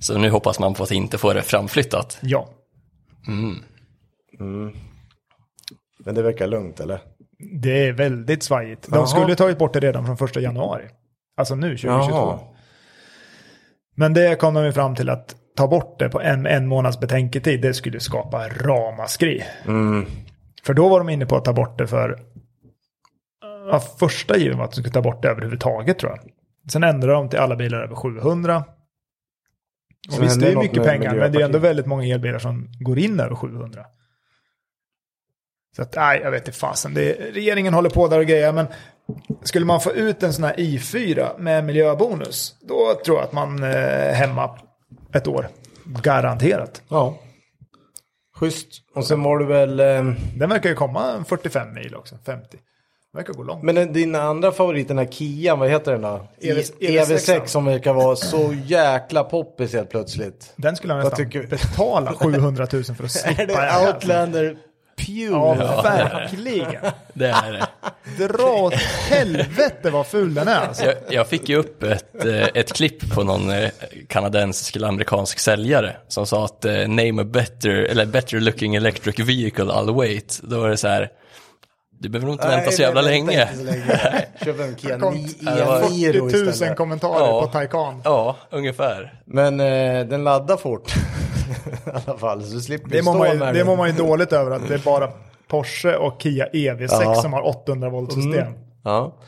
Så nu hoppas man på att inte få det framflyttat.
Ja.
Men det verkar lugnt, eller?
Det är väldigt svajigt. De
Jaha.
skulle tagit bort det redan från första januari. Alltså nu 2022. Men det kom de ju fram till att ta bort det på en, en månads betänketid. Det skulle skapa ramaskri. För då var de inne på att ta bort det för... Ja, första given var att de skulle ta bort det överhuvudtaget tror jag. Sen ändrade de till alla bilar över 700.
Så
Och visst,
hände
det är
något
mycket
med
pengar, men det är ändå
Miljöpartiet.
väldigt många elbilar som går in över 700. Så att, nej, jag vet inte fasen. Det är, regeringen håller på där och grejer, men skulle man få ut en sån här i4 med miljöbonus, då tror jag att man eh, är hemma ett år. Garanterat.
Ja. Schysst. Och sen var du väl... Eh,
Den verkar ju komma en 45 mil också, 50. Den verkar gå långt.
men den- din andra favorit, den här Kian, vad heter den då?
EV6.
I- EV6 som verkar vara så jäkla poppis helt
*laughs*
plötsligt.
Den skulle jag
Vad
nästan
tycker vi? *laughs*
betala 700 000 för att slippa.
Är
den här
det
jäveln.
Outlander Pure? *laughs*
Ja, verkligen.
Det är det.
Dra åt helvete vad ful den är alltså.
*laughs* Jag, jag fick ju upp ett, eh, ett klipp på någon eh, kanadensisk eller amerikansk säljare som sa att eh, name a better, eller better looking electric vehicle, I'll wait. Då var det så här, du behöver nog inte vänta så jävla länge.
Köp en Kia
Kom-
det var
9
40 000
istället.
kommentarer
Ja.
på Taycan.
*laughs* Ja, ungefär.
Men eh, den laddar fort. *laughs* I alla fall, så du slipper
Det
stå
mår, man ju,
med
det
den.
mår man ju dåligt över att det är bara Porsche och Kia EV6
Ja.
som har 800 volt system.
Mm. Ja.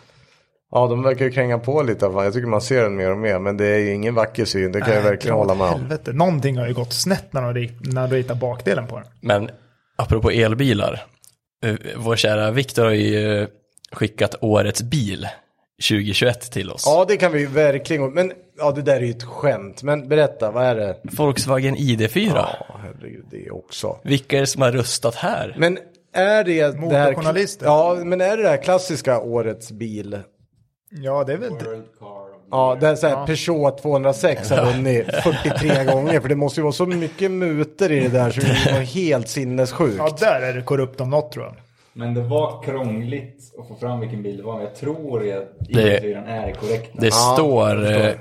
Ja, de verkar ju kränga på lite i alla fall. Jag tycker man ser den mer och mer. Men det är ju ingen vacker syn, det kan jag verkligen hålla med om.
Helvete. Någonting har ju gått snett när de, rit- när de ritar bakdelen på den.
Men apropå elbilar, eh, vår kära Viktor har ju eh, skickat årets bil 2021 till oss.
Ja, det kan vi ju verkligen. Men ja, det där är ju ett skämt. Men berätta, vad är det?
Volkswagen ID4.
Ja, herregud, det är också.
Vilka är det som har röstat här?
Men är det det här...
Motorjournalister.
Ja, men är det det här klassiska årets bil?
Ja, det är väl...
World Car of the
Ja, det är så här Peugeot 206 har vunnit 43 gånger. För det måste ju vara så mycket muter i det där så det är helt sinnessjukt.
Ja, där är det korrupt om något tror jag.
Men det var krångligt att få fram vilken bil det var. Men jag tror att
Det-
E4 är korrekt.
Det
Ja,
står
jag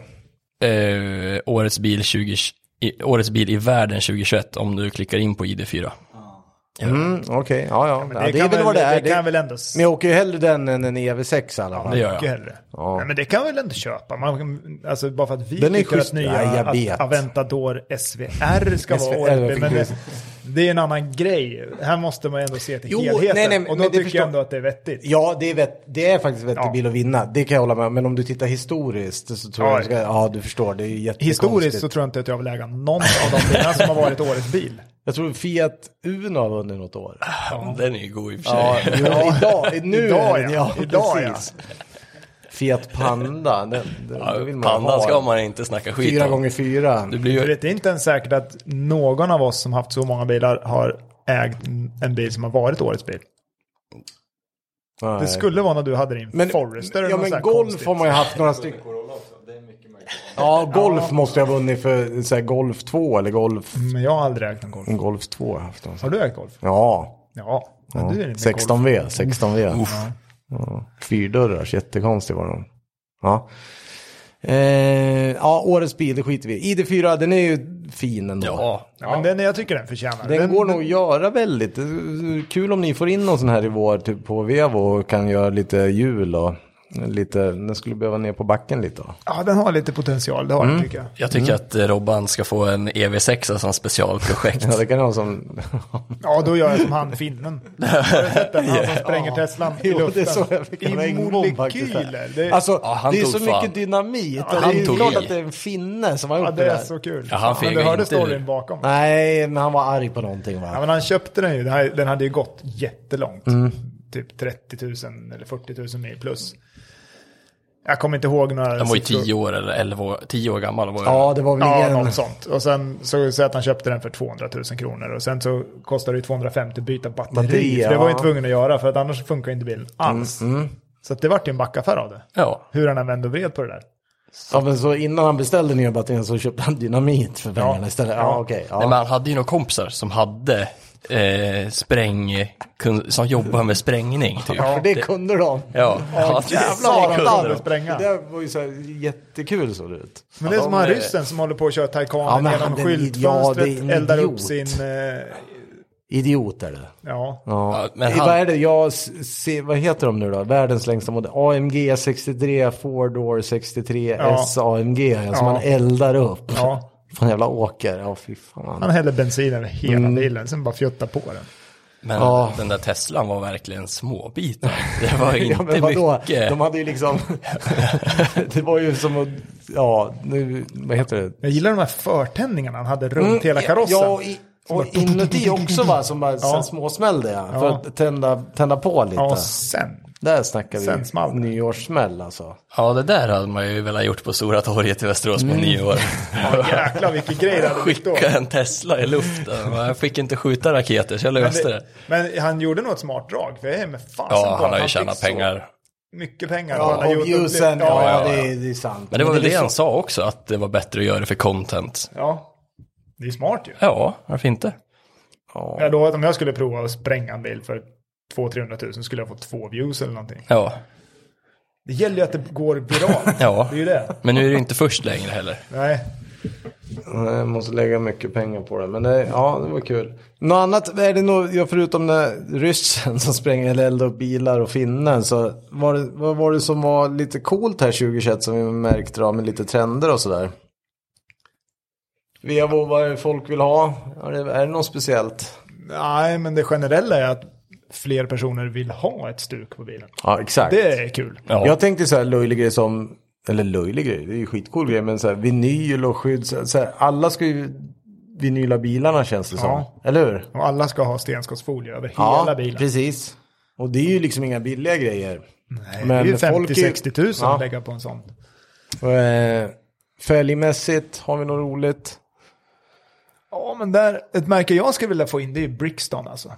eh, eh, årets, bil 20, i, årets bil i världen 2021 om du klickar in på ID4.
Mm, Okej, ja, ja. ja. Det,
kan
är väl vad det är.
Det kan
Det,
väl ändå... s-
men jag åker ju hellre den än en EV6 i alla fall.
det gör jag.
mycket hellre. Nej, men det kan väl ändå köpa? Man, alltså bara för att vi
Den är
tycker
schysst.
att nya
Ja, jag vet.
att Aventador SVR ska vara
SVR,
året. Men
precis.
det, det är en annan grej. Här måste man ändå se till
Jo,
helheten.
nej, nej,
och
men
då
det
tycker
förstår-
jag ändå att det är vettigt.
Ja, det är, vett, det är faktiskt vettig
Ja.
bil att vinna. Det kan jag hålla med om. Men om du tittar historiskt så tror
Ja,
jag... Ska, ja, du förstår. Det är ju jättekonstigt.
Historiskt så tror jag inte att jag vill äga någon av de bilarna som har varit årets bil.
Jag tror Fiat Uno har vunnit något år.
Ah,
Den är ju god i och för sig.
Ja, ja idag. Nu
Idag,
är den,
ja.
ja.
Idag, ja.
precis. Fiat Panda. Den, den
Ja,
vill man
Pandan
ha.
ska man inte snacka skit
Fyra
om.
gånger fyra.
Det blir
För
ju,
det är inte ens säkert att någon av oss som haft så många bilar har ägt en bil som har varit årets bil.
Nej.
Det skulle vara när du hade din
men,
Forester. eller
ja,
något sånt
men
här
golf
konstigt.
har man ju haft några stycken.
Under Corolla också. Det är mycket möjligt.
Ja, golf måste jag ha vunnit för så här, Golf 2 eller Golf...
Men jag har aldrig ägt en Golf.
Golf 2 har jag haft. Alltså.
Har du ägt Golf?
Ja,
Ja. Men du är inte en
16V, 16V. Ja. Fyrdörrars, jättekonstig var den. Ja. Eh, ja, årets bil, det skiter vi i. ID4, den är ju fin ändå.
ja,
Ja, men den, jag tycker den förtjänar
Den,
den,
går nog att göra väldigt. Det är Kul om ni får in någon sån här i vår typ på Vevo och kan göra lite jul och Lite, den skulle behöva ner på backen lite. då.
Ja, den har lite potential, det har
Mm.
den tycker jag.
Jag
Mm.
tycker att eh, Robban ska få en EV6 som specialprojekt.
*laughs* Ja, det kan vara
*laughs*
som...
Ja, då gör jag som han
*laughs*
finnen. Har du sett den? Han som spränger Teslan i
Jo,
luften.
det såg jag fick en
I
regnbomb faktiskt.
molekyler. Det,
Alltså,
Ja, han
det är
tog
så
fan.
mycket dynamit. och
han
det är
tog
klart
i.
att det är en finne som har gjort
ja,
det,
det är
där.
så kul.
Ja, han
Men du
fegar
hörde
inte
storyn
ur.
bakom.
Nej, men han var arg på någonting va?
Ja, men han köpte den ju. Den, här, den hade ju gått jättelångt.
Mm.
Typ 30 000 eller 40 000 mil plus. Jag kommer inte ihåg några
Den var ju
siffror.
tio år eller elva år, tio år gammal. Var ja.
Ja, det var väl
Ja,
ingen...
något sånt. Och sen så säg att han köpte den för 200 000 kronor. Och sen så kostade det ju 250 att byta batteri.
Batteri,
för det Mm, var ju
ja.
tvungen att göra för att annars funkar inte bilen alls. Så att det vart ju en backaffär av det.
ja,
Hur han använde och vred på det där.
Ja, men så innan han beställde nya batterierna så köpte han dynamit för pengarna istället. Ja,
Ja.
okej.
Nej,
Ja.
men han hade ju några kompisar som hade eh, spräng, kun- som jobbade med sprängning. Typ.
för det kunde de.
Ja, ja det
jävlar vad
kunde
satan.
de.
att spränga.
Det där var ju så här jättekul såg det ut.
Men det är
Ja,
som
de
han
är-
ryssen som håller på att köra Taycanen
Ja, men
genom
han är en idiot. Ja, det
skyltfönstret,
är en
eldar upp
idiot.
sin... Eh,
Idiot är det.
ja.
Ja.
Ja, men
I-
han-
Vad är det? Jag s- se, vad heter de nu då? Världens längsta modell. AMG 63, Ford Door 63,
Ja.
SAMG. Som
Ja.
alltså man eldar upp.
Ja.
Fan jävla åker. Ja, fy fan.
Han häller bensin över hela bilen, sen bara fjuttar på den.
Men
Ja.
den där Teslan var verkligen småbitar. Det var
Ja,
inte
men vadå?
mycket.
De hade ju liksom... *laughs* det var ju som att... Ja, nu... Vad heter det?
Jag gillar de här förtändningarna han hade runt hela karossen.
Mm, Ja, och, i, och inuti också va, som bara ja. småsmällde ja, för
Ja.
att tända, tända på lite.
ja, sen.
Där snackar vi
sen small det.
nyårssmäll alltså.
Ja, det där hade man ju velat gjort på Stora torget i Västerås på nio år.
Jäklar vilken grej det *laughs* hade blivit då.
Skicka en Tesla i luften. Jag fick inte skjuta raketer, så jag
Men,
löste
det,
det.
men han gjorde nog ett smart drag, för jag är med fasen på
Ja,
att
han har ju
fick
tjänat
så
pengar.
Mycket pengar. på
Ja,
alla
och
YouTube-
ljusen, ja,
ja,
ja, ja.
Det, är- det är sant.
Men det var väl det
är
han
så-
sa också, att det var bättre att göra det för content.
ja. Det är smart ju.
Ja, varför inte?
Ja.
Jag lovar att om jag skulle prova att spränga en bil för 200-300 000 skulle jag få två views eller någonting.
Ja,
Det gäller ju att det går viralt.
*laughs* Ja.
Det är ju det.
men nu är det inte först längre heller.
Nej.
Nej, Jag måste lägga mycket pengar på det. Men det, ja, det var kul. Något annat, är det nog, ja, förutom när ryssen *laughs* som spränger eller eldar upp bilar och finnen. Så var det, vad var det som var lite coolt här 2021 som vi märkte då med lite trender och sådär? Vevo, vad folk vill ha? Är det, är det något speciellt?
Nej, men det generella är att fler personer vill ha ett stuk på bilen.
Ja, exakt.
Det är kul.
Ja.
Jag tänkte så här löjlig grej som, eller löjlig grej, det är ju skitcool grej, men så här vinyl och skydd. Så så här, alla ska ju vinyla bilarna känns det
Ja.
som. Eller hur?
Och alla ska ha stenskottsfolie över hela
Ja,
bilen.
precis. Och det är ju liksom inga billiga grejer.
Nej, det är ju
folk är ju-
50-60 000
Ja.
att lägga på en sån.
Eh, Fälgmässigt, har vi något roligt?
Ja, men där, ett märke jag skulle vilja få in det är Brixton alltså.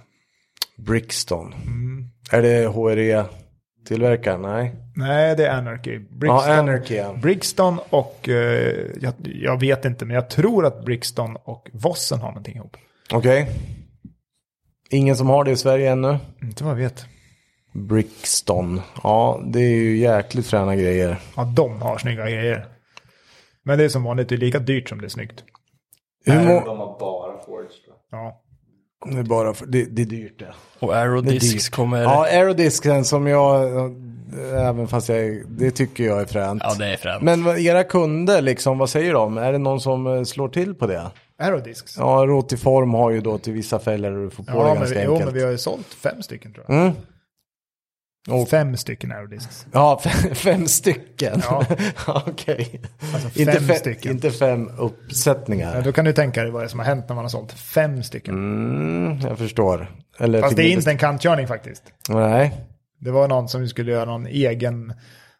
Brixton.
Mm.
Är det HRE-tillverkaren? Nej.
Nej, det är Anarchy. Brixton,
Ja, Anarchy. ja.
Brixton och, eh, jag, jag vet inte, men jag tror att Brixton och Vossen har någonting ihop.
Okej. Ingen som har det i Sverige ännu?
Inte vad jag vet.
Brixton. Ja, det är ju jäkligt fräna grejer.
Ja, de har snygga grejer. Men det är som vanligt, det är lika dyrt som det är snyggt.
Hur må-
De har bara Forge tror
Ja,
Det är bara för, det, det är dyrt det.
Och
det är
Aerodiscs
dyrt.
kommer...
Ja, aerodisken som jag, även fast jag, det tycker jag är fränt.
Ja, det är fränt.
Men vad- era kunder, liksom, vad säger de? Är det någon som eh, slår till på det?
Aerodiscs.
Ja, Rotiform har ju då till vissa fällor du får på
Ja,
det
men,
ganska
vi, jo,
enkelt. Mm.
men vi har ju sålt fem stycken tror jag.
Och-
Fem stycken Aerodiscs.
Ja, fem, *laughs* fem stycken.
Ja.
*laughs* Okej.
Alltså fem
Inte, fe-
stycken.
inte fem
Ja,
uppsättningar.
då kan du tänka dig vad det är som har hänt när man har sålt fem stycken.
Mm, jag förstår. Eller
Fast det är
förbjudet-
inte en kantkörning faktiskt.
Nej.
Det var någon som skulle göra någon egen...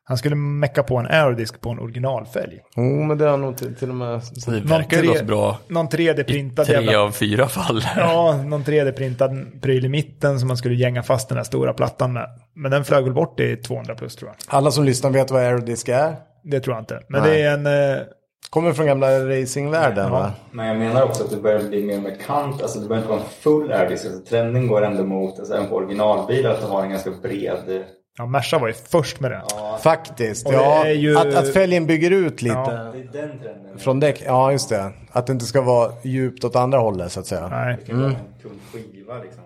Han skulle mecka på en aerodisk på en originalfälg.
Jo, men det har nog till, till och med...
Det verkar ju
tre-
gått bra.
Någon 3D-printad
Tre
jävla...
av fyra fall.
Ja, någon 3D-printad pryl i mitten som man skulle gänga fast den där stora plattan med. Men den flög väl bort i 200 plus tror jag.
Alla som lyssnar vet vad aerodisk är.
Det tror jag inte. Men
Nej.
det är en... eh,
Kommer från gamla racingvärlden, va?
Men jag menar också att det börjar bli mer med kant. Alltså det börjar inte vara en full airdisk. Alltså trenden går ändå mot, alltså även på originalbilar, att du har en ganska bred...
Ja, Merca var ju först med det.
Faktiskt,
det
ja.
är ju-
Att, att fälgen bygger ut lite.
Ja.
Det är den trenden.
Från däck, ja just det. Att det inte ska vara djupt åt andra hållet så att säga.
Nej.
Det kan vara en tunn skiva liksom.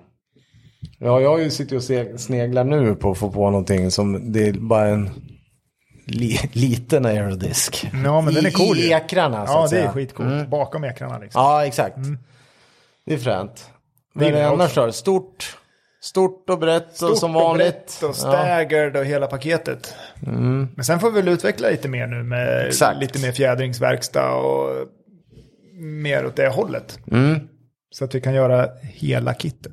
Ja, jag har ju sitter och se- sneglar nu på att få på någonting som det är bara en li, *laughs* liten aerodisk.
Ja, men den är cool ju.
I ekrarna så
Ja,
att
det
säga. Mm.
är skitcoolt. Bakom ekrarna liksom.
Ja, exakt. Det Mm. är fränt. Men
gillar jag
annars
också.
då? Stort, stort och brett och
Stort
som
och
vanligt. Mm.
brett och staggered och hela paketet. Men sen får vi väl utveckla lite mer nu med
Exakt.
lite mer fjädringsverkstad och mer åt det hållet.
Mm.
Så att vi kan göra hela kittet.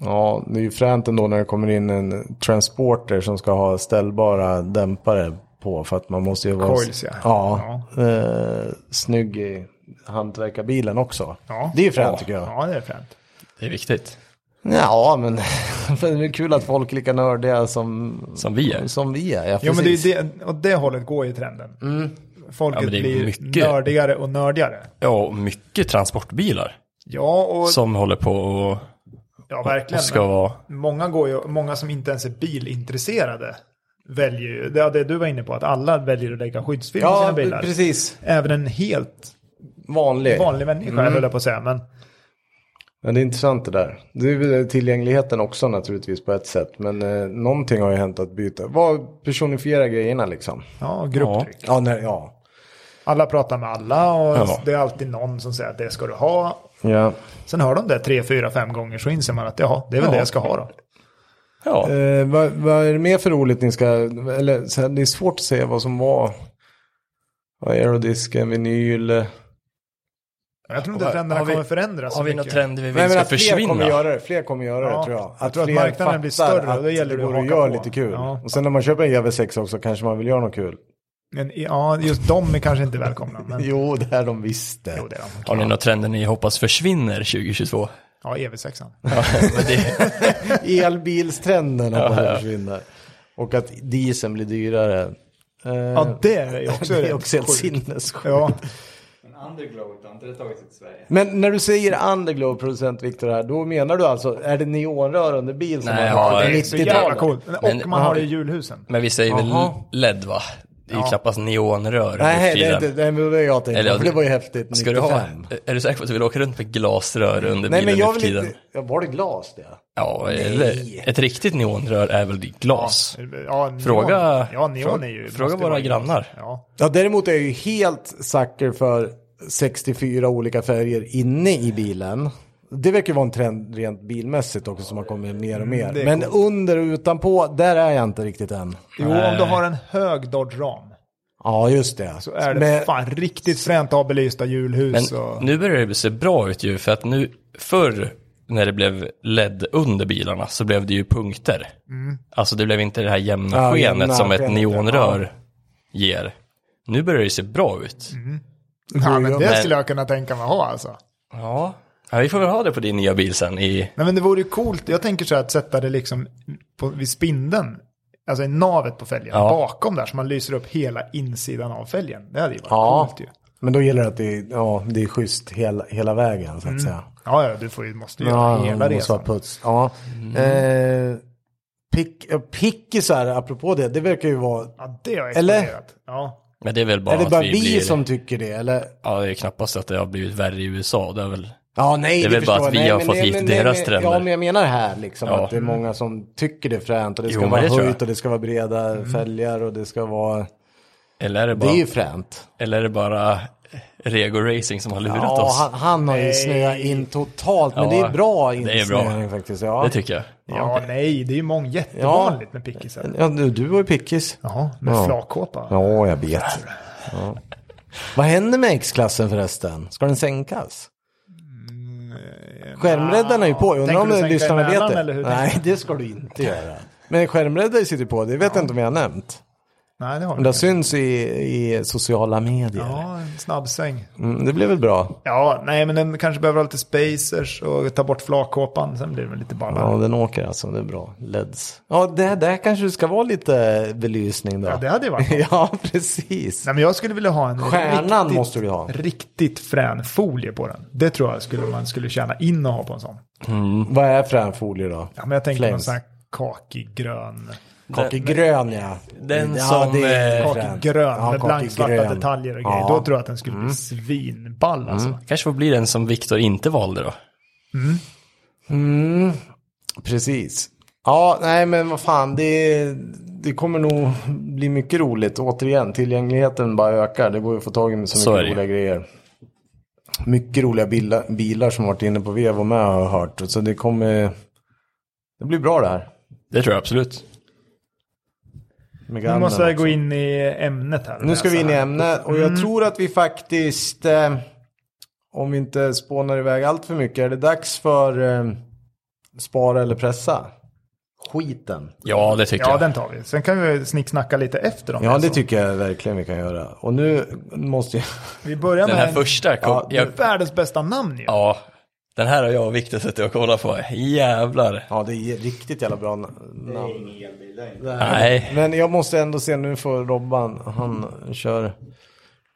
Ja, det är ju fränt ändå när det kommer in en transporter som ska ha ställbara dämpare på för att man måste ju vara...
Coils, ja.
Ja. Eh, snygg i hantverkarbilen också.
Ja.
Det är ju fränt tycker jag.
Ja, det är fränt.
*laughs* Det är viktigt.
Ja, men *laughs* det är kul att folk är lika nördiga som,
Som vi är.
som vi är. Ja,
Jo, men det
precis. Mm.
är det, åt det hållet går ju trenden. Folket
Ja, men det är
blir
mycket.
nördigare och nördigare.
Ja, och mycket transportbilar
Ja, och
som håller på och,
ja,
och
verkligen.
ska vara...
Många, går ju, många som inte ens är bilintresserade väljer ju, det, det du var inne på, att alla väljer att lägga skyddsfilm på sina
ja
bilar.
precis.
Även en helt
Vanlig.
vanlig människa,
Mm.
höll jag på att säga. Men
Men det är intressant det där. Det är väl tillgängligheten också naturligtvis på ett sätt. Men eh, någonting har ju hänt att byta. Vad personifiera grejerna liksom?
ja, grupptryck.
Ja, nej, ja.
Alla pratar med alla och
Ja.
det är alltid någon som säger att det ska du ha.
Ja.
Sen hör de det tre, fyra, fem gånger så inser man att jaha, det är väl
Ja.
det jag ska ha då.
Ja,
Eh, vad, vad är det mer för roligt ni ska, eller så här, det är svårt att säga vad som var. Vad är aerodisk, en vinyl.
Jag tror inte
Har-
trenderna
har vi-
kommer förändras så
har vi några
mycket.
trender vi vill
Nej men
ska
att fler kommer
försvinna?
göra det, fler kommer göra
Ja,
det tror jag.
jag tror att
fler
marknaden blir
fattar
större och
att
då gäller det att
går att
haka
göra
på.
lite kul.
Ja.
Och sen när man köper en GV6 också kanske man vill göra något kul.
Men, ja, just de är kanske inte välkomna. Men,
Jo, det här de visste.
Mm. jo, det är de.
Har ni några trender ni hoppas försvinner 2022?
Ja, E EV6an.
Ja, men *laughs* det, *laughs*
Elbilstrenden hoppas jag försvinner. Och att dieseln blir dyrare. Eh,
Ja, *laughs* det är ju också
det är
rätt
också helt
sjukt.
sinnessjukt.
Ja,
Men Underglow, har inte det tagit sig till Sverige?
Men när du säger underglow, producent Viktor här, då menar du alltså, är det neonrör under bil som
Nej,
man har
ja,
på
det är
så jävla
90-talet?
coolt. Och
Men-
man har det i julhusen.
men vi säger väl
Jaha.
LED va? Det är ju
Ja.
knappast neonrör
Nej, det är
tiden.
inte det är väl det jag tänkte
Eller,
på, för det var ju häftigt 95.
Ska du ha, är du säker på att du vill åka runt med glasrör under
Nej, men
bilen
jag
nu för
vill
tiden?
inte, jag var det glas det?
Ja, eller, ett riktigt neonrör är väl glas?
Ja, neon.
Fråga-
ja, neon
fråga-
är ju...
fråga
måste
våra
vara-
grannar.
Ja.
Ja, däremot är jag ju helt sucker för 64 olika färger inne i bilen. Det verkar ju vara en trend rent bilmässigt också som har kommit mer och mer.
Mm, det är
Men under och utanpå, där är jag inte riktigt än.
Jo, om du har en hög Dodge Ram
Ja, just det.
så är det
Men-
fan riktigt fränt att ha belysta
Men
julhus. och...
nu börjar det se bra ut ju, för att nu förr när det blev LED under bilarna så blev det ju punkter. Alltså det blev inte det här jämna
Mm. Ja,
skenet
jämna
som ett
skenet,
neonrör ger. Nu börjar det se bra ut.
Mm.
Ja, men det
Men-
skulle jag kunna tänka mig ha alltså.
Ja. ja, vi får väl ha det på din nya bil sen i...
Nej, men det vore ju coolt. Jag tänker så här att sätta det liksom på, vid spindeln. Alltså i navet på fälgen.
Ja.
Bakom där. Så man lyser upp hela insidan av fälgen. Det hade ju varit
Ja.
coolt ju.
Men då gäller det att det är, ja, det är schysst hela, hela vägen
Mm.
så att säga.
Ja, ja, du får ju, måste ju
Ja,
göra hela
det måste
resan.
vara puts. Ja.
Mm.
Eh, pick, ja, pickisar, apropå det, det verkar ju vara...
Ja, det har
Eller?
exploderat. Ja.
Men det är väl bara,
är det bara
att
vi,
vi blir...
som tycker det eller?
Ja, det är knappast att det har blivit värre i USA. Det är väl...
Ja, nej,
Det är väl
förstår
bara
jag.
att vi
Nej,
har
men
fått
nej,
hit
men nej,
deras
men-
trender.
Ja, men jag menar här liksom
Ja.
att det är många som tycker det är fränt och det ska
Jo, men
vara
det tror
höjt
jag. Mm.
och det ska vara breda fälgar och det ska vara...
Eller är det
Det
bara,
är ju fränt.
eller är det bara Rego Racing som har lurat
Ja,
oss?
han, han har ju
Nej.
snöat in totalt, men
Ja,
det är bra
det är bra.
insnöning faktiskt. Ja.
Det tycker jag.
Ja, nej, det är ju många jättevanligt med pickisar.
Ja, du, du var ju pickis.
Jaha, med
Ja.
flakkåpa.
Ja, jag vet. Ja. Vad händer med X-klassen förresten? Ska den sänkas? Skärmräddaren är ju på. Jag undrar
Mm, Tänker
om
du sänka
lyssnarna vet
emellan,
det.
eller hur tänker
Nej, det ska du inte göra. Men skärmräddare sitter på, det vet jag inte om jag har nämnt.
Nej, det
Men
har
det
vi.
syns i, i sociala medier.
Ja, en snabbsäng.
Mm, det blev väl bra?
Ja, nej, men den kanske behöver ha lite spacers och ta bort flakkåpan. Sen blir det väl lite ballare.
Ja, den åker alltså. Det är bra. LEDs. Ja, det där kanske det ska vara lite belysning då.
Ja, det hade ju varit något.
*laughs* Ja, precis.
Nej, men jag skulle vilja ha en
*laughs* Stjärnan
riktigt,
måste du ha.
riktigt frän folie på den. Det tror jag skulle man skulle tjäna in att ha på en sån.
Vad är fränfolie då?
Ja, men jag tänker någon
Flames.
sån här kakig grön.
Kakigrön ja.
Den
ja,
som,
det är
eh,
fränt.
Kakgrön
Ja,
med blanksvarta
kakigrön.
detaljer och grejer.
Ja. Mm.
Då tror jag att den skulle bli svinball alltså.
Kanske får bli den som Viktor inte valde då.
Mm. Precis. Ja, nej men vad fan, det, det kommer nog bli mycket roligt. Återigen, tillgängligheten bara ökar. Det går ju att få tag i så
Så
mycket
är det.
roliga grejer. Mycket roliga bilar, bilar som varit inne på vev och med har jag hört. Så det kommer... Det blir bra det här.
Det tror jag absolut.
Med
Nu
Gannen
måste jag
också.
gå in i ämnet här.
Nu ska vi in i
Läsa här.
ämnet och jag tror att vi faktiskt, eh, om vi inte spånar iväg allt för mycket, är det dags för eh, spara eller pressa? Skiten.
Ja, det tycker
Ja,
jag.
den tar vi. Sen kan vi snicksnacka lite efter om
Ja,
så.
det tycker jag verkligen vi kan göra. Och nu måste jag... *laughs*
Vi börjar
Den
med
här
en-
första kom,
Ja,
jag,
världens bästa namn ju.
ja, den här har jag och Viktor suttit och kollat på. Jävlar.
Ja, det är riktigt jävla bra namn.
Ingen elbil där inte.
Nej.
Men jag måste ändå se nu för Robban, han kör.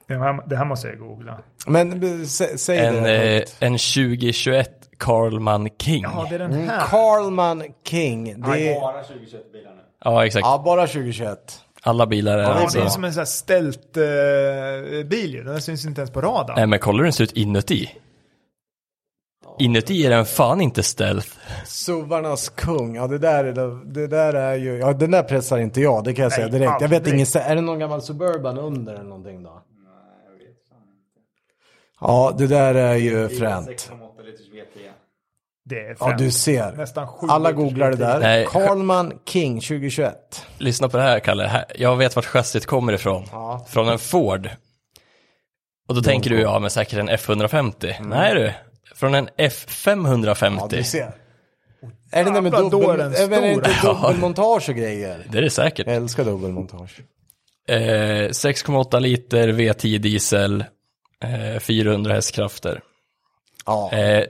Det, här, det här måste jag googla.
Men eh, sä, säg
En,
det.
eh, en 2021 Carlman King.
Ja, det är den
Mm,
här.
Carlman King. Det är,
Bara 2021 bilar nu.
Ja, exakt.
ja, bara 2021.
Alla bilar är
Ja,
alltså...
det är som en sån här ställt eh, bil ju. Den syns inte ens på radarn.
Nej, men kollar hur den ser ut inuti? Inuti är den fan inte stealth.
Suvarnas kung, ja det där, är, det där är ju, ja den där pressar inte jag, det kan jag
Nej,
säga direkt. Jag vet
aldrig.
ingen, är det någon gammal Suburban under eller någonting då? Ja, det där är ju fränt.
6,8 liters V10.
Det är
Ja,
främt.
du ser.
Nästan sju
Alla
liters
googlar det
bil.
där.
Nej.
Carlman King 2021.
Lyssna på det här, Kalle. Här- Jag vet vart chassit kommer ifrån.
Ja.
Från en Ford. Och då tänker du, ja men säkert en F150. Nej du, från en F550.
Ja, du ser. Är det där med
Jävlar, då är
dubbel,
den
är det inte
stor.
dubbelmontage och grejer?
Det är det säkert.
Jag älskar dubbelmontage.
Eh, 6,8 liter V10 diesel, eh, 400 hästkrafter. *laughs*
Ja,
Eh,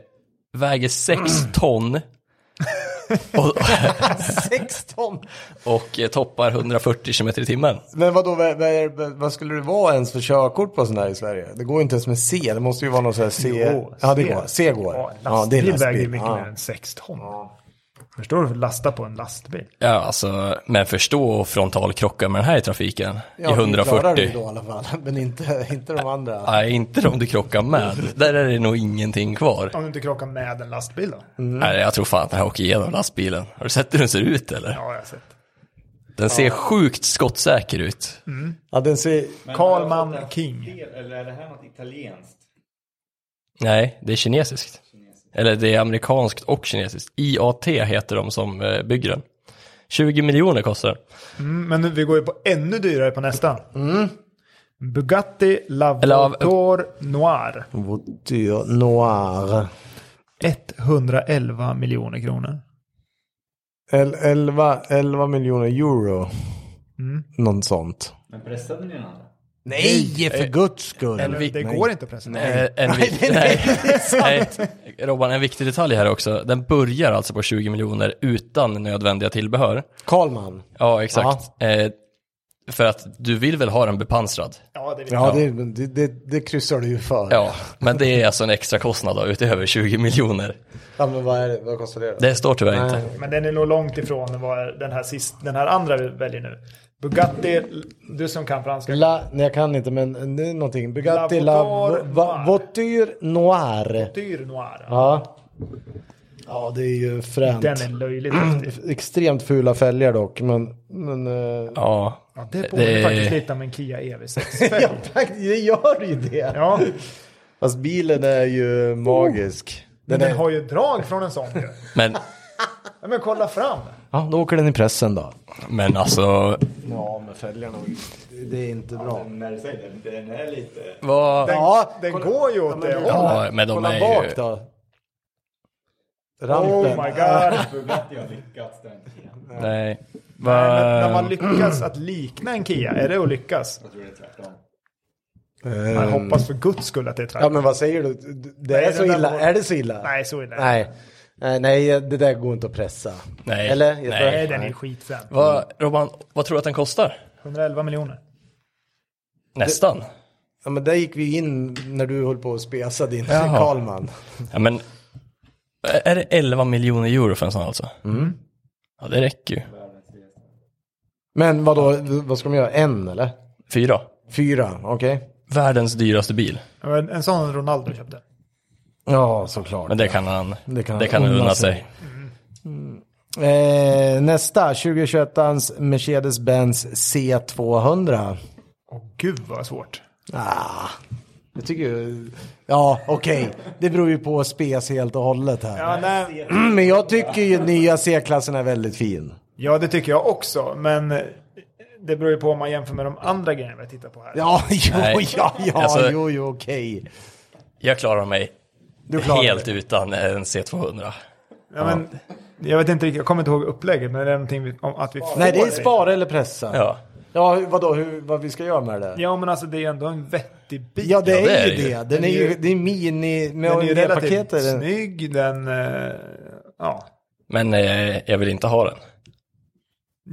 *clears throat*
väger 6 ton. och,
16.
och eh, toppar 140 km i timmen.
Men vadå, vad, vad, vad skulle det vara ens för körkort på sån här i Sverige? Det går ju inte ens med C, det måste ju vara någon sån här C.
Jo,
ja, det går. C går.
Ja, lastbil,
ja, det är lastbil.
väger ju mycket
ja.
mer än 6 ton. Förstår du? Lasta på en lastbil.
Ja, alltså, men förstå frontalkrocka med den här i trafiken
Ja,
i
vi klarar det ju
140.
då i alla fall, *laughs* men inte, inte de andra.
Nej, inte om du krockar med. Där är det nog ingenting kvar.
Om du inte krockar med en lastbil då?
Mm.
Nej, jag tror fan att den här åker igenom lastbilen. Har du sett hur den ser ut eller?
Ja, jag har sett.
Den ser sjukt skottsäker ut.
Ja, den ser...
Karlman King.
Eller är det här något italienskt?
Nej, det är kinesiskt. Eller det är amerikanskt och kinesiskt. IAT heter de som eh, bygger den. 20 miljoner kostar den.
Mm, men nu- vi går ju på ännu dyrare på nästa.
Mm.
Bugatti Lavador Noir.
Voiture noir.
111 miljoner kronor.
El, 11, 11 miljoner euro.
Mm.
Något sånt.
Men pressade ni den andra?
Nej, för guds skull.
Eller, det
Nej.
går inte att presentera.
Eh, En, vi- nej, nej. Robban, en viktig detalj här också. Den börjar alltså på 20 miljoner utan nödvändiga tillbehör.
Karlman.
Ja, exakt. Eh, för att du vill väl ha den bepansrad?
Ja, det vill jag.
Ja, Det, det, det, det kryssar du ju för. Ja.
Ja, men det är alltså en extra kostnad då, utöver 20 miljoner.
men vad, är det, vad kostar det då?
Det står tyvärr inte.
Nej.
Men den är nog långt ifrån vad den här, sist, den här andra vi väljer nu. Bugatti, du som kan franska.
La, nej, jag kan inte, men det är någonting. Bugatti La,
La
va,
Voiture
va,
Noire.
Voiture Noir.
Dyr Noir.
Ja. Ja, det är ju fränt.
Den är löjligt häftig.
Extremt fula fälgar dock, men... men eh,
Ja,
Ja, det borde
det,
faktiskt likna med en Kia E EV6.
*laughs* ja, faktiskt, det gör ju det.
Ja, men
Fast bilen är ju magisk.
Oh, den,
Den är,
har ju drag från en sån ju.
men,
Ja, men kolla fram.
ja, då åker den i pressen då.
men alltså,
Ja, med fälgarna. Det är inte bra.
När du säger den, den är lite...
vad...
Den,
Ja,
den
kolla-
går ju
Ja,
åt
men
det
du-
hållet.
Ja, men de
Kolla
är
bak
ju...
då.
Oh
Rampen.
my god.
Bugatti har lyckats den igen.
Nej.
Nej, men när man
Vad...
lyckas att likna en Kia, är det att lyckas?
Jag tror det är tvärtom.
Jag hoppas för guds skull att det är
Eh, Ja,
tvärtom.
men vad säger du? Det
Nej,
är
den
så
där
illa.
var-
Är det så illa?
Nej, så är det Nej,
Nej. Nej, nej, det där går inte att pressa.
Nej.
Eller?
Nej.
Nej,
den är skitfrän.
Vad, Robban, vad tror du att den kostar?
111 miljoner.
Nästan.
Ja, men där gick vi in när du höll på att spesa din
Jaha.
Karlman.
Ja, men... Är det 11 miljoner euro för en sån alltså? Mm. Ja, det räcker ju.
Men vad då, vad ska de göra? En eller?
Fyra.
Fyra, okej.
Världens dyraste bil.
Ja, men En sån Ronaldo köpte.
Ja, såklart.
Men det kan han,
Det kan
det
han
kan han unna sig.
Eh, nästa, 2021ans Mercedes-Benz C200.
Åh gud vad svårt.
Ah, jag tycker ju... Ja, okej. Det beror ju på spes helt och hållet här. Mm,
Ja, nej.
Men jag tycker ju nya C-klassen är väldigt fin.
ja, det tycker jag också. Men det beror ju på om man jämför med de andra grejerna vi tittar på här.
Ja, *laughs* jo,
Nej.
ja, ja,
Alltså-
jo, jo, okej.
Jag klarar mig
Du klarar
helt
det.
utan en C200.
Ja, men, jag vet inte riktigt, jag kommer inte ihåg upplägget, men är det någonting vi, om att vi får
Nej, det är spara eller pressa. Ja,
Ja.
hur- vadå, hur, vad vi ska göra med det? där?
Ja, men alltså det är ju ändå en vettig bil.
Ja, det
Ja,
är ju det. Den är ju,
ju-
det är mini, med
den är ju relativt
paketet.
snygg, den... eh, ja.
Men eh, jag vill inte ha den.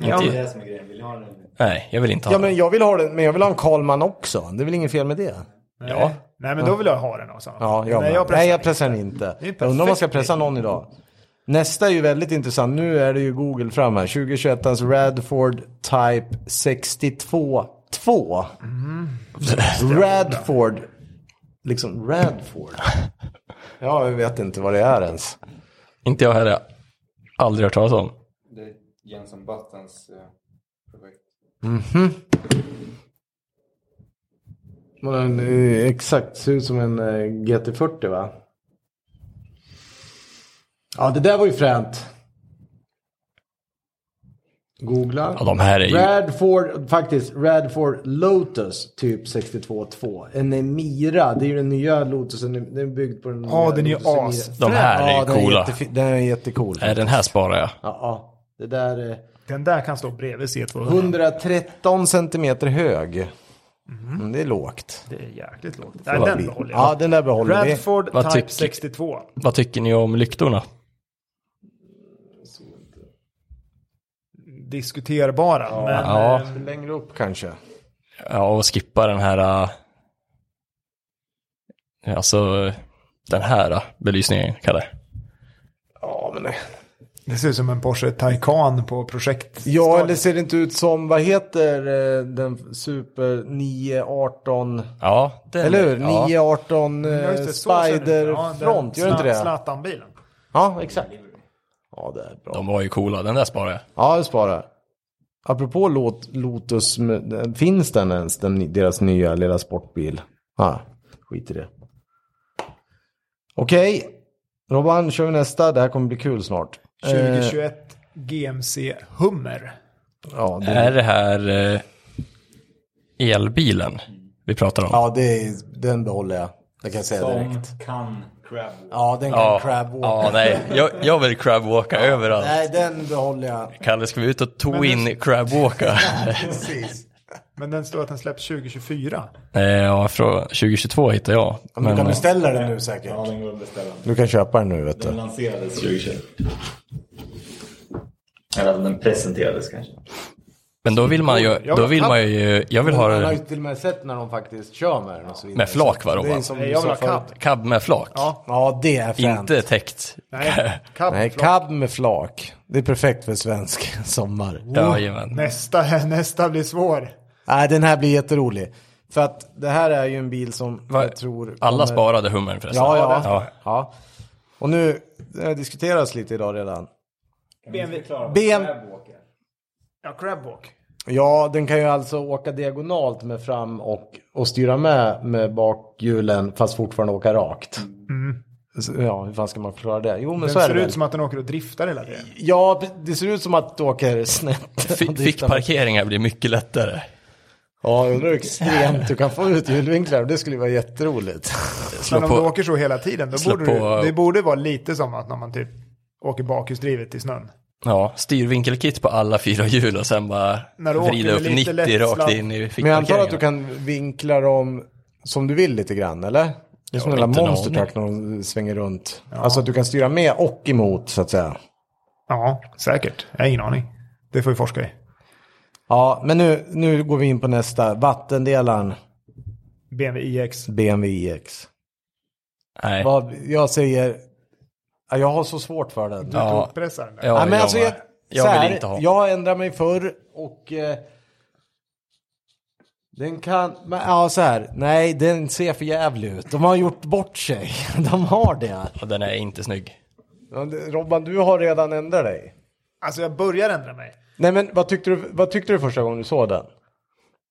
ja
Det är
men,
det som är grejen. Vill ni ha den?
Nej, jag vill inte ha
Ja,
den.
men jag vill ha den, men jag vill ha en Karlman också. Det är väl inget fel med det?
Ja.
Nej, men då vill jag ha den också.
Ja, jag
Nej,
Nej,
jag pressar
Nej, jag
inte.
pressar den inte.
Det är en
Jag undrar om man ska
perfekt
pressa någon idag. Nästa är ju väldigt intressant. Nu är det ju Google fram här. 2021ans Radford Type 62 2. Mm. Radford. Liksom Radford. Ja, jag vet inte vad det är ens.
Inte jag heller. Aldrig hört talas om.
Det är Jensen Buttons eh, projekt.
Man har en, eh, exakt, ser ut som en eh, GT40 va? Ja, det där var ju fränt. Googla.
Ja, de här är ju...
Radford, faktiskt, Radford Lotus typ 62.2. En Emira, det är ju den nya Lotusen, den är byggd på den nya
Ja, den är ju
Lotus Emira.
as.
De här är ju
ja, den
coola.
jättefi- den är jättecool.
Nej, den här sparar jag.
Ja, ja. Det där är
Den där kan stå bredvid C200.
113 centimeter hög. Mm, det är lågt.
Det är jäkligt lågt. Nej,
vad
den
blir-
behåller jag. typ
Ja, den där behåller vi.
Radford
Vad
Type
tycker-
62.
Vad tycker ni om lyktorna?
Diskuterbara, men...
Ja.
eh,
Längre upp kanske.
Ja, och skippa den här... eh, Alltså, den här eh, belysningen, Kalle.
Ja, men nej.
Det ser ut som en Porsche Taycan på projekt.
Ja, eller ser det inte ut som, vad heter eh, den super 918?
Ja, den,
Eller hur?
Ja.
918
Ja,
eh,
just det, så ser den ut. Ja, den
Spider-front, gör det inte
Zla-
det?
Zlatan-bilen.
Ja, exakt. Ja, det är bra.
De var ju coola, den där sparar jag.
Ja, det sparar. Apropå lot, Lotus, m- finns den ens, den, deras nya lilla sportbil? Ah, skit i det. Okej, Robban, kör vi nästa. Det här kommer bli kul snart. Eh,
2021 GMC
*laughs*
Hummer.
ja, det,
Är det här eh, elbilen vi pratar om?
ja det, är- den behåller jag. Det kan jag säga direkt.
Som kan crab walk.
Ja, den kan
ja.
crab walk.
Ja, nej. Jag, jag vill crabwalka överallt.
Nej, den behåller jag.
Kalle, ska vi ut och twin crabwalka?
Precis.
Men den står att den släpps 2024.
*laughs*
Mm,
Eh, ja, från 2022 hittar jag.
Ja, Men du
Men,
kan beställa den nu säkert.
Ja, den går att beställa.
Du kan köpa den nu vet
Den
du.
lanserades 2021. Eller alltså, den presenterades kanske.
men då vill man ju...
Jag-
Då vill man ju jag vill
Man har
ha
ju till och med sett när de faktiskt kör med den och så vidare.
Med flak, va,
Så Det är
Robban?
som
Nej,
du
jag vill
sa
ha
förut.
cab.
cab med flak.
Ja.
Ja, det är fränt.
Inte täckt.
Nej,
*laughs*
cab.
Nej,
förlåt.
cab med flak. Det är perfekt för svensk *laughs* sommar.
Jajamän.
Nästa, *laughs* nästa blir svår.
Nej, den här blir jätterolig. För att det här är ju en bil som
Va-
jag tror... kommer-
Alla sparade hummern förresten.
Ja, ja.
Ja.
ja. Och nu det diskuteras lite idag redan.
BMW.
BM...
Ja, crabwalk.
Ja, den kan ju alltså åka diagonalt med fram och, och styra med med bakhjulen fast fortfarande åka rakt. Så, Ja, hur fan ska man klara det? Jo, men
Den
så är
Mm. ser
det väl.
ut som att den åker och driftar hela tiden.
Ja, det ser ut som att du åker snett.
Fi- Fick parkeringar blir mycket lättare.
Ja, jag undrar hur extremt du kan få ut hjulvinklar. Det skulle ju vara jätteroligt.
Men
Slå
om du
på.
åker så hela tiden, då
slå
borde du,
på-
det borde vara lite som att när man typ åker bakhjulsdrivet i snön.
Ja, styrvinkelkit på alla fyra hjul och sen bara
När du
vrida
åker
upp
med lite
90
lätt
rakt
sladd.
in i
Men jag antar att du
fickparkeringen.
kan vinkla dem som du vill lite grann, eller? Det är som
Jag
en jävla
har inte en
monster
aning.
truck när de svänger runt. Alltså att du kan styra med och emot, så att säga.
Ja, säkert. Jag har ingen aning. Det får vi forska i.
Ja, men nu, nu går vi in på nästa. Vattendelaren
BMW iX.
BMW iX.
Nej.
Vad, jag säger... Ja, Jag har så svårt för den.
Ja.
Tokpressar den där.
Ja,
Ja, men
jag,
alltså, jag,
med. jag
så
vill
här,
inte ha.
Jag ändrar mig förr och eh, den kan, men, ja så här, nej den ser för jävlig ut. De har gjort bort sig. *laughs* De har det.
Och den är inte snygg.
Ja, det- Robban, du har redan ändrat dig.
Alltså jag börjar ändra mig.
Nej men vad tyckte, du, vad tyckte du första gången du såg den?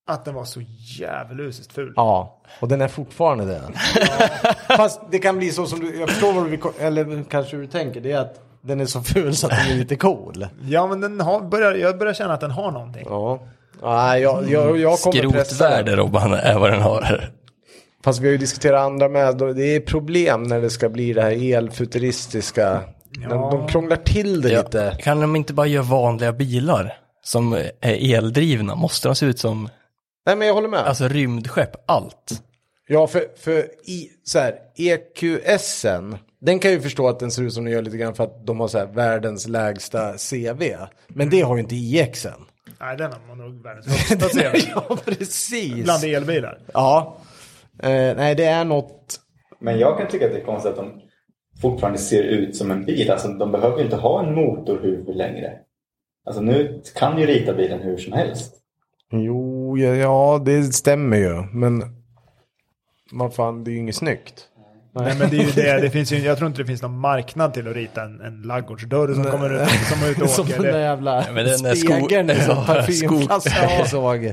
Att den var så djävulusiskt ful.
Ja, och den är fortfarande det. *laughs* Fast det kan bli så som du, jag förstår vad du vill, ko- eller kanske hur du tänker, det är att den är så ful så att den är lite cool.
Ja, men den har, börjar, jag börjar känna att den har någonting.
Ja. Nej, jag, jag, jag kommer pressa den.
Skrotvärde Robban är vad den har.
Fast vi har ju diskuterat andra med. Det är problem när det ska bli det här elfuturistiska. De, de krånglar till det lite.
Kan de inte bara göra vanliga bilar som är eldrivna? Måste de se ut som
Nej men jag håller med.
alltså, rymdskepp? Allt.
Ja för, för i, så här, EQSen. Den kan jag ju förstå att den ser ut som den gör lite grann för att de har så här världens lägsta CV. Men det har ju inte IXen.
Nej, den har man nog världens högsta
*laughs*
CV.
ja precis.
Bland elbilar.
Ja. Eh, nej det är något.
Men jag kan tycka att det är konstigt att de fortfarande ser ut som en bil. Alltså, de behöver ju inte ha en motorhuvud längre. Alltså, nu kan ju rita bilen hur som helst.
Jo ja, ja det stämmer ju. Men. Vad fan det är ju inget snyggt.
Nej, men det är ju det. det finns ju, jag tror inte det finns någon marknad till att rita en, en ladugårdsdörr som kommer ut, som är ute
*laughs*
och
Som
åker.
den där
Det,
jävla
men den där sko-
spegeln i
Ja,
som parfymflaskan
sko-
jag såg.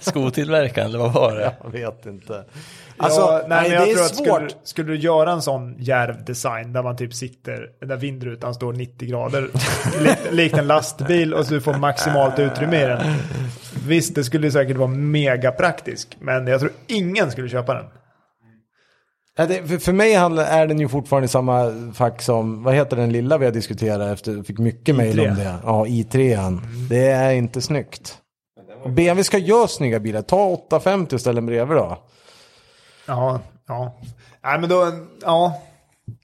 Skotillverkaren, eller vad var det?
Jag vet inte. Alltså,
alltså, ja, nej,
nej,
men jag
det är
tror att
svårt.
skulle, skulle du göra en sån djärv design där man typ sitter, där vindrutan står 90 grader, *laughs* likt, likt en lastbil och så du får maximalt utrymme i den. Visst, det skulle säkert vara mega praktisk, men jag tror ingen skulle köpa den.
Ja, det, för, för mig handlar, är den ju fortfarande i samma fack som, vad heter den lilla vi har diskuterat efter, jag fick mycket mejl
I3.
om det. Ja, i3. an Det är inte snyggt. Och BMW ska göra snygga bilar, ta 850 och ställ den bredvid då.
Ja, ja. Nej, men då, ja.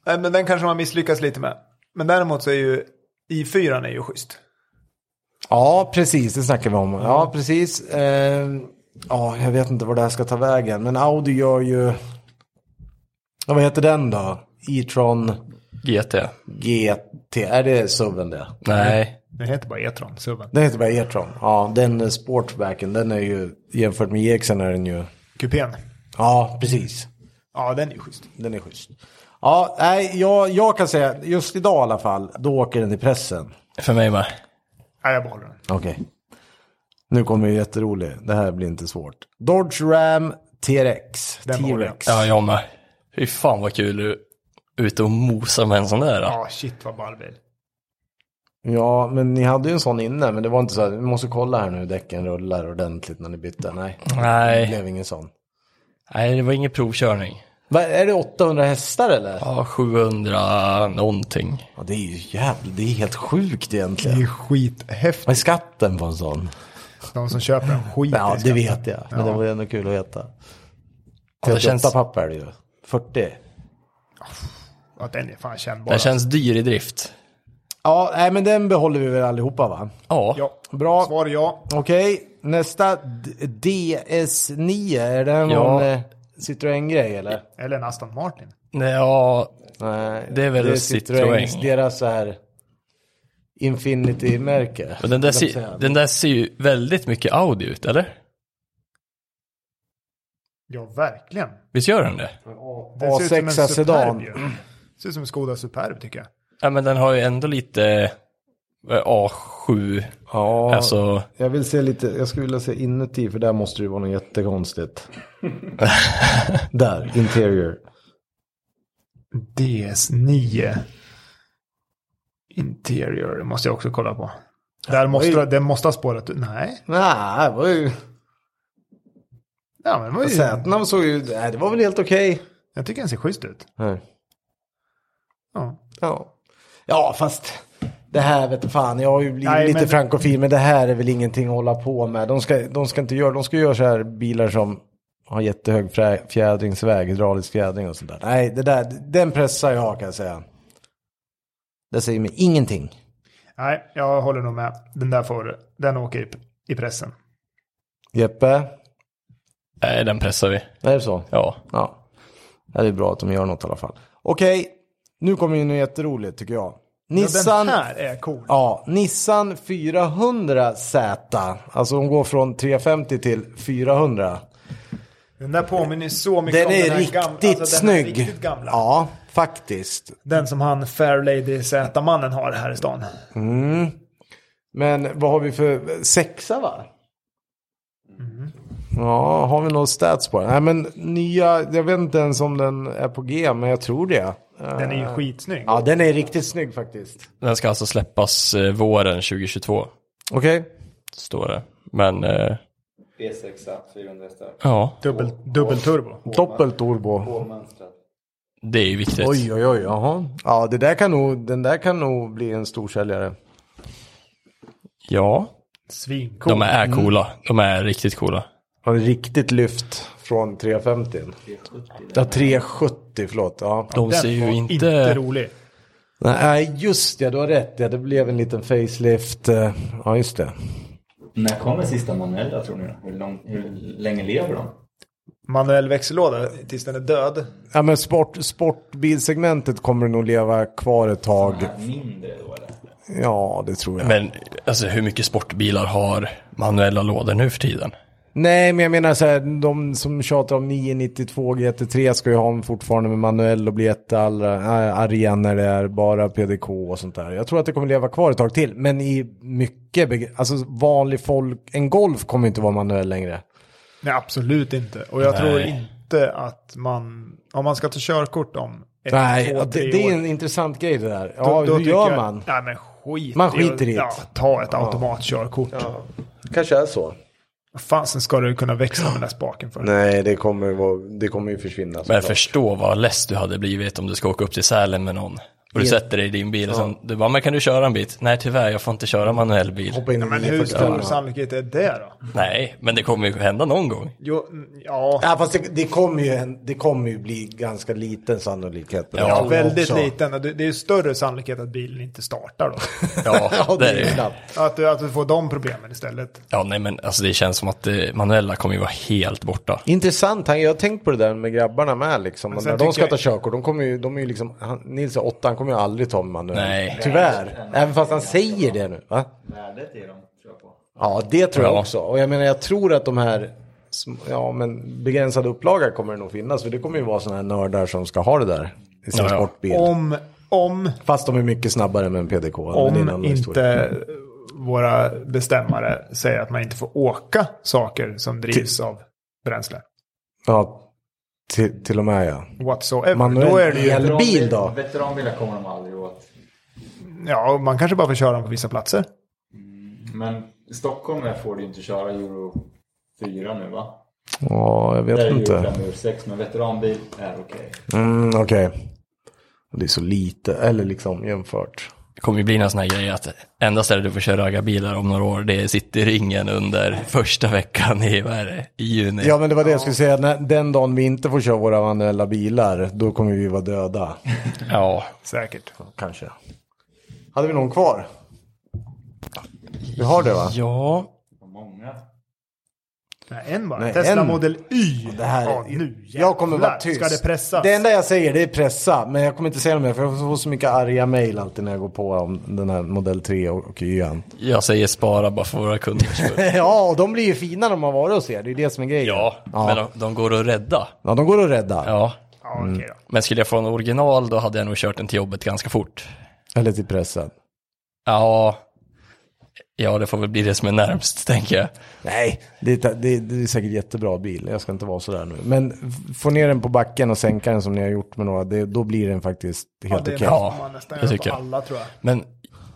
Nej, men den kanske man misslyckas lite med. Men däremot så är ju i4 är ju schysst.
Ja, precis, det snackar vi om. Ja, precis. Eh, ja, jag vet inte var det här ska ta vägen, men Audi gör ju, ja, vad heter den då? E-tron
GT?
GT, är det suven det?
Nej.
Den heter bara E-tron, subben.
Den heter bara E-tron. Ja, den eh, sportbacken, den är ju, jämfört med EXen är den ju,
Kupén.
ja, precis.
Ja, den är ju schysst.
Den är schysst. Ja, nej, jag, jag kan säga, just idag i alla fall, då åker den i pressen.
För mig med.
Nej, jag behåller den.
Okej. Nu kommer ju jätterolig. Det här blir inte svårt. Dodge Ram TRX.
Den var
T-Rex.
Ja, jag med. Fy fan vad kul du ute och mosa med en sån där. Då.
Ja, shit vad ball bil.
Ja, men ni hade ju en sån inne. Men det var inte så här, vi måste kolla här nu hur däcken rullar ordentligt när ni bytte. Nej, det
Nej.
blev ingen sån.
Nej, det var ingen provkörning.
Va, är det 800 hästar eller?
Ja, 700 någonting.
Ja, det är ju jävligt, det är helt sjukt
Det är
egentligen.
ju skithäftigt.
Vad är skatten på en sån?
De som köper den skiter
Ja,
i
det
skatten.
vet jag. Men det var ju ändå kul att veta.
Ja, det
38
känns,
papper är det ju. 40.
Ja, den är fan kännbar.
den känns dyr i drift.
Ja, nej, men den behåller vi väl allihopa va?
Ja.
Ja,
Bra.
svar är ja.
Okej, nästa D- DS9. Är det någon
Ja.
eh, Citroën-grej eller?
Eller en Aston Martin.
Nej, ja.
Nej,
Det är väl Citroën.
Deras så här Infinity-märke.
Men den där,
Jag
ser,
säga.
den där ser ju väldigt mycket Audi ut, eller?
Ja, verkligen.
Visst gör den det?
Den ser ut som en
A6 sedan.
Superb ju. Ser ut som en Skoda Superb tycker jag.
Ja, men den har ju ändå lite eh, A7,
Ja,
alltså.
jag vill se lite, jag skulle vilja se inuti för där måste det ju vara något
*laughs*
jättekonstigt. där, interior.
DS9 Interior, det måste jag också kolla på. Där måste,
Oj.
det- den måste ha spårat ut. Nej,
Nej, det var ju...
ja, men det var ju,
Sätena såg ju, nej, det var väl helt okej.
jag tycker den ser schysst ut. Ja.
Ja. ja, fast det här vet du fan, jag har ju blivit
Nej,
lite
men-
frankofil, men det här är väl ingenting att hålla på med. De ska, de ska inte göra, de ska göra så här bilar som har jättehög frä- fjädringsväg, hydraulisk fjädring och sådär. Nej, det där, den pressar jag kan jag säga. Det säger mig ingenting.
Nej, jag håller nog med. Den där får, den åker i, i pressen.
Jeppe,
Nej, den pressar vi.
är det så?
Ja.
Ja. Ja, Det är bra att de gör något i alla fall. Okej, nu kommer ju något jätteroligt tycker jag. Nissan...
Ja, den här är cool.
Ja, Nissan 400Z. Alltså de går från 350 till 400.
Den där påminner så mycket
Den
om den
är
här
riktigt
gamla. alltså, den här
snygg.
riktigt gamla.
Ja, faktiskt.
Den som han Fair Lady Z-mannen har här i stan.
Men vad har vi för sexa va?
Mm.
Ja, har vi någon stats på den? Nej men nya, jag vet inte ens om den är på G, men jag tror det.
Den är ju
Eh,
skitsnygg.
Ja, den är riktigt snygg faktiskt.
Den ska alltså släppas eh, våren 2022,
Okej.
står det. Men eh,
E V6, 400 stark.
ja,
Dubbel, dubbelturbo.
Doppelturbo.
Hårdmönstrad.
det är ju viktigt.
Oj, oj, oj, jaha. Ja, det där kan nog, den där kan nog bli en storsäljare.
Ja,
Svincool.
de är coola. De är riktigt coola.
Har ett riktigt lyft från 350. Ja, 370, förlåt. Ja.
De
Den
ser ju
var
inte...
inte rolig.
Nej, just det, du har rätt. Ja, det blev en liten facelift. eh, Ja, just det.
När kommer sista manuella tror ni? då? Hur, lång, hur länge lever de?
Manuell växellåda tills den är död.
Ja, men sport, sportbilsegmentet kommer nog leva kvar ett tag.
Mindre då eller?
Ja, det tror jag.
Men alltså hur mycket sportbilar har manuella lådor nu för tiden?
Nej, men jag menar så här, de som tjatar om 992 GT3 ska ju ha en fortfarande med manuell och bli jättearga när det är bara PDK och sånt där. Jag tror att det kommer leva kvar ett tag till, men i mycket, beg- alltså vanlig folk, en Golf kommer inte vara manuell längre.
Nej, absolut inte. Och jag
Nej.
tror inte att man, om man ska ta körkort om ett,
Nej,
två,
ja,
tre
det, det
år,
är en intressant grej det där.
då-
Ja,
då
hur
tycker
gör
jag-
man?
Nej, men skit
Man skiter i det.
Ja, ta ett automatkörkort.
Kanske är så.
Vad fasen ska du kunna växla med den där spaken för?
Nej, det kommer, vara, det kommer ju försvinna.
Men
såklart.
förstå vad less du hade blivit om du ska åka upp till Sälen med någon. Och du
Ja.
sätter dig i din bil och sen, du bara, men kan du köra en bit? Nej tyvärr, jag får inte köra manuell bil.
Hoppa in i
Men hur
940.
stor sannolikhet är det då?
Nej, men det kommer ju hända någon gång.
Jo, mm, ja,
Ja, fast det, det, kommer ju, en- det kommer ju bli ganska liten sannolikhet. på det.
Ja,
ja, väldigt
också.
liten. Det det är ju större sannolikhet att bilen inte
*laughs*
startar då.
Ja, det är det. ju.
knappt.
att, du, att du får de problemen istället.
Ja, nej men alltså det känns som att eh, manuella kommer ju vara helt borta.
Intressant, han- jag har tänkt på det där med grabbarna med liksom.
Men sen
När de ska
tycker
ta
jag-
körkort, de kommer ju, de är ju liksom, han, Nils är åtta, han kommer ju aldrig ta med manuell.
Nej.
Tyvärr, även fast han säger det nu. Va?
Värdet i dem tror jag på.
Ja, det tror jag
Ja.
också. Och jag menar, jag tror att de här, sm- ja men begränsade upplaga kommer det nog finnas. För det kommer ju vara sådana här nördar som ska ha det där i sin
Ja, ja.
sportbil.
Om, om
Fast de är mycket snabbare med en PDK. men det är en
Om
annan historia.
inte våra bestämmare säger att man inte får åka saker som drivs av bränsle.
Ja, till, till och med ja.
Whatsoever.
Manuell
Då är det ju,
el- Eller bil då?
Veteranbilar kommer de aldrig åt.
ja, man kanske bara får köra dem på vissa platser.
Men i Stockholm får du ju inte köra Euro 4 nu va?
Ja, jag
Där är
vet
Euro
inte.
5 Euro 6 men veteranbil är okej.
Mm, Okej. Det är så lite, eller liksom jämfört.
Det kommer ju bli någon sån här grej att enda stället du får köra raggarbilar om några år, det är cityringen under första veckan i, vad är det, i juni.
Ja men det var det jag skulle säga, när, den dagen vi inte får köra våra manuella bilar, då kommer vi vara döda.
ja.
Säkert.
Kanske. Hade vi någon kvar? Vi har det va?
ja.
Vad Många.
Nej, en bara.
Nej,
Tesla
en.
Model Y.
Det här,
ja, nu
jag kommer vara
jävlar
tyst.
Ska det pressas?
Det enda jag säger det är pressa, men jag kommer inte säga det mer för jag får så mycket arga mejl alltid när jag går på om den här modell 3 och och
*laughs*
Y.
Jag säger spara bara för våra kunders skull.
Ja, och de blir ju fina när de har varit hos er, det är ju det som är grejen.
*laughs* Ja,
ja.
men de, de går att rädda.
ja de går att rädda.
Ja.
Ja, okej då.
Men skulle jag få en original då hade jag nog kört den till jobbet ganska fort.
Eller till pressen.
Ja, ja det får väl bli det som är närmst tänker jag.
Nej, det är, det, är, det är säkert jättebra bil. Jag ska inte vara sådär nu. Men f- få ner den på backen och sänka den som ni har gjort med några. Det, då blir den faktiskt
Ja,
helt
det
okej.
måste man nästan
det
göra
tycker
på
jag.
alla tror jag.
Men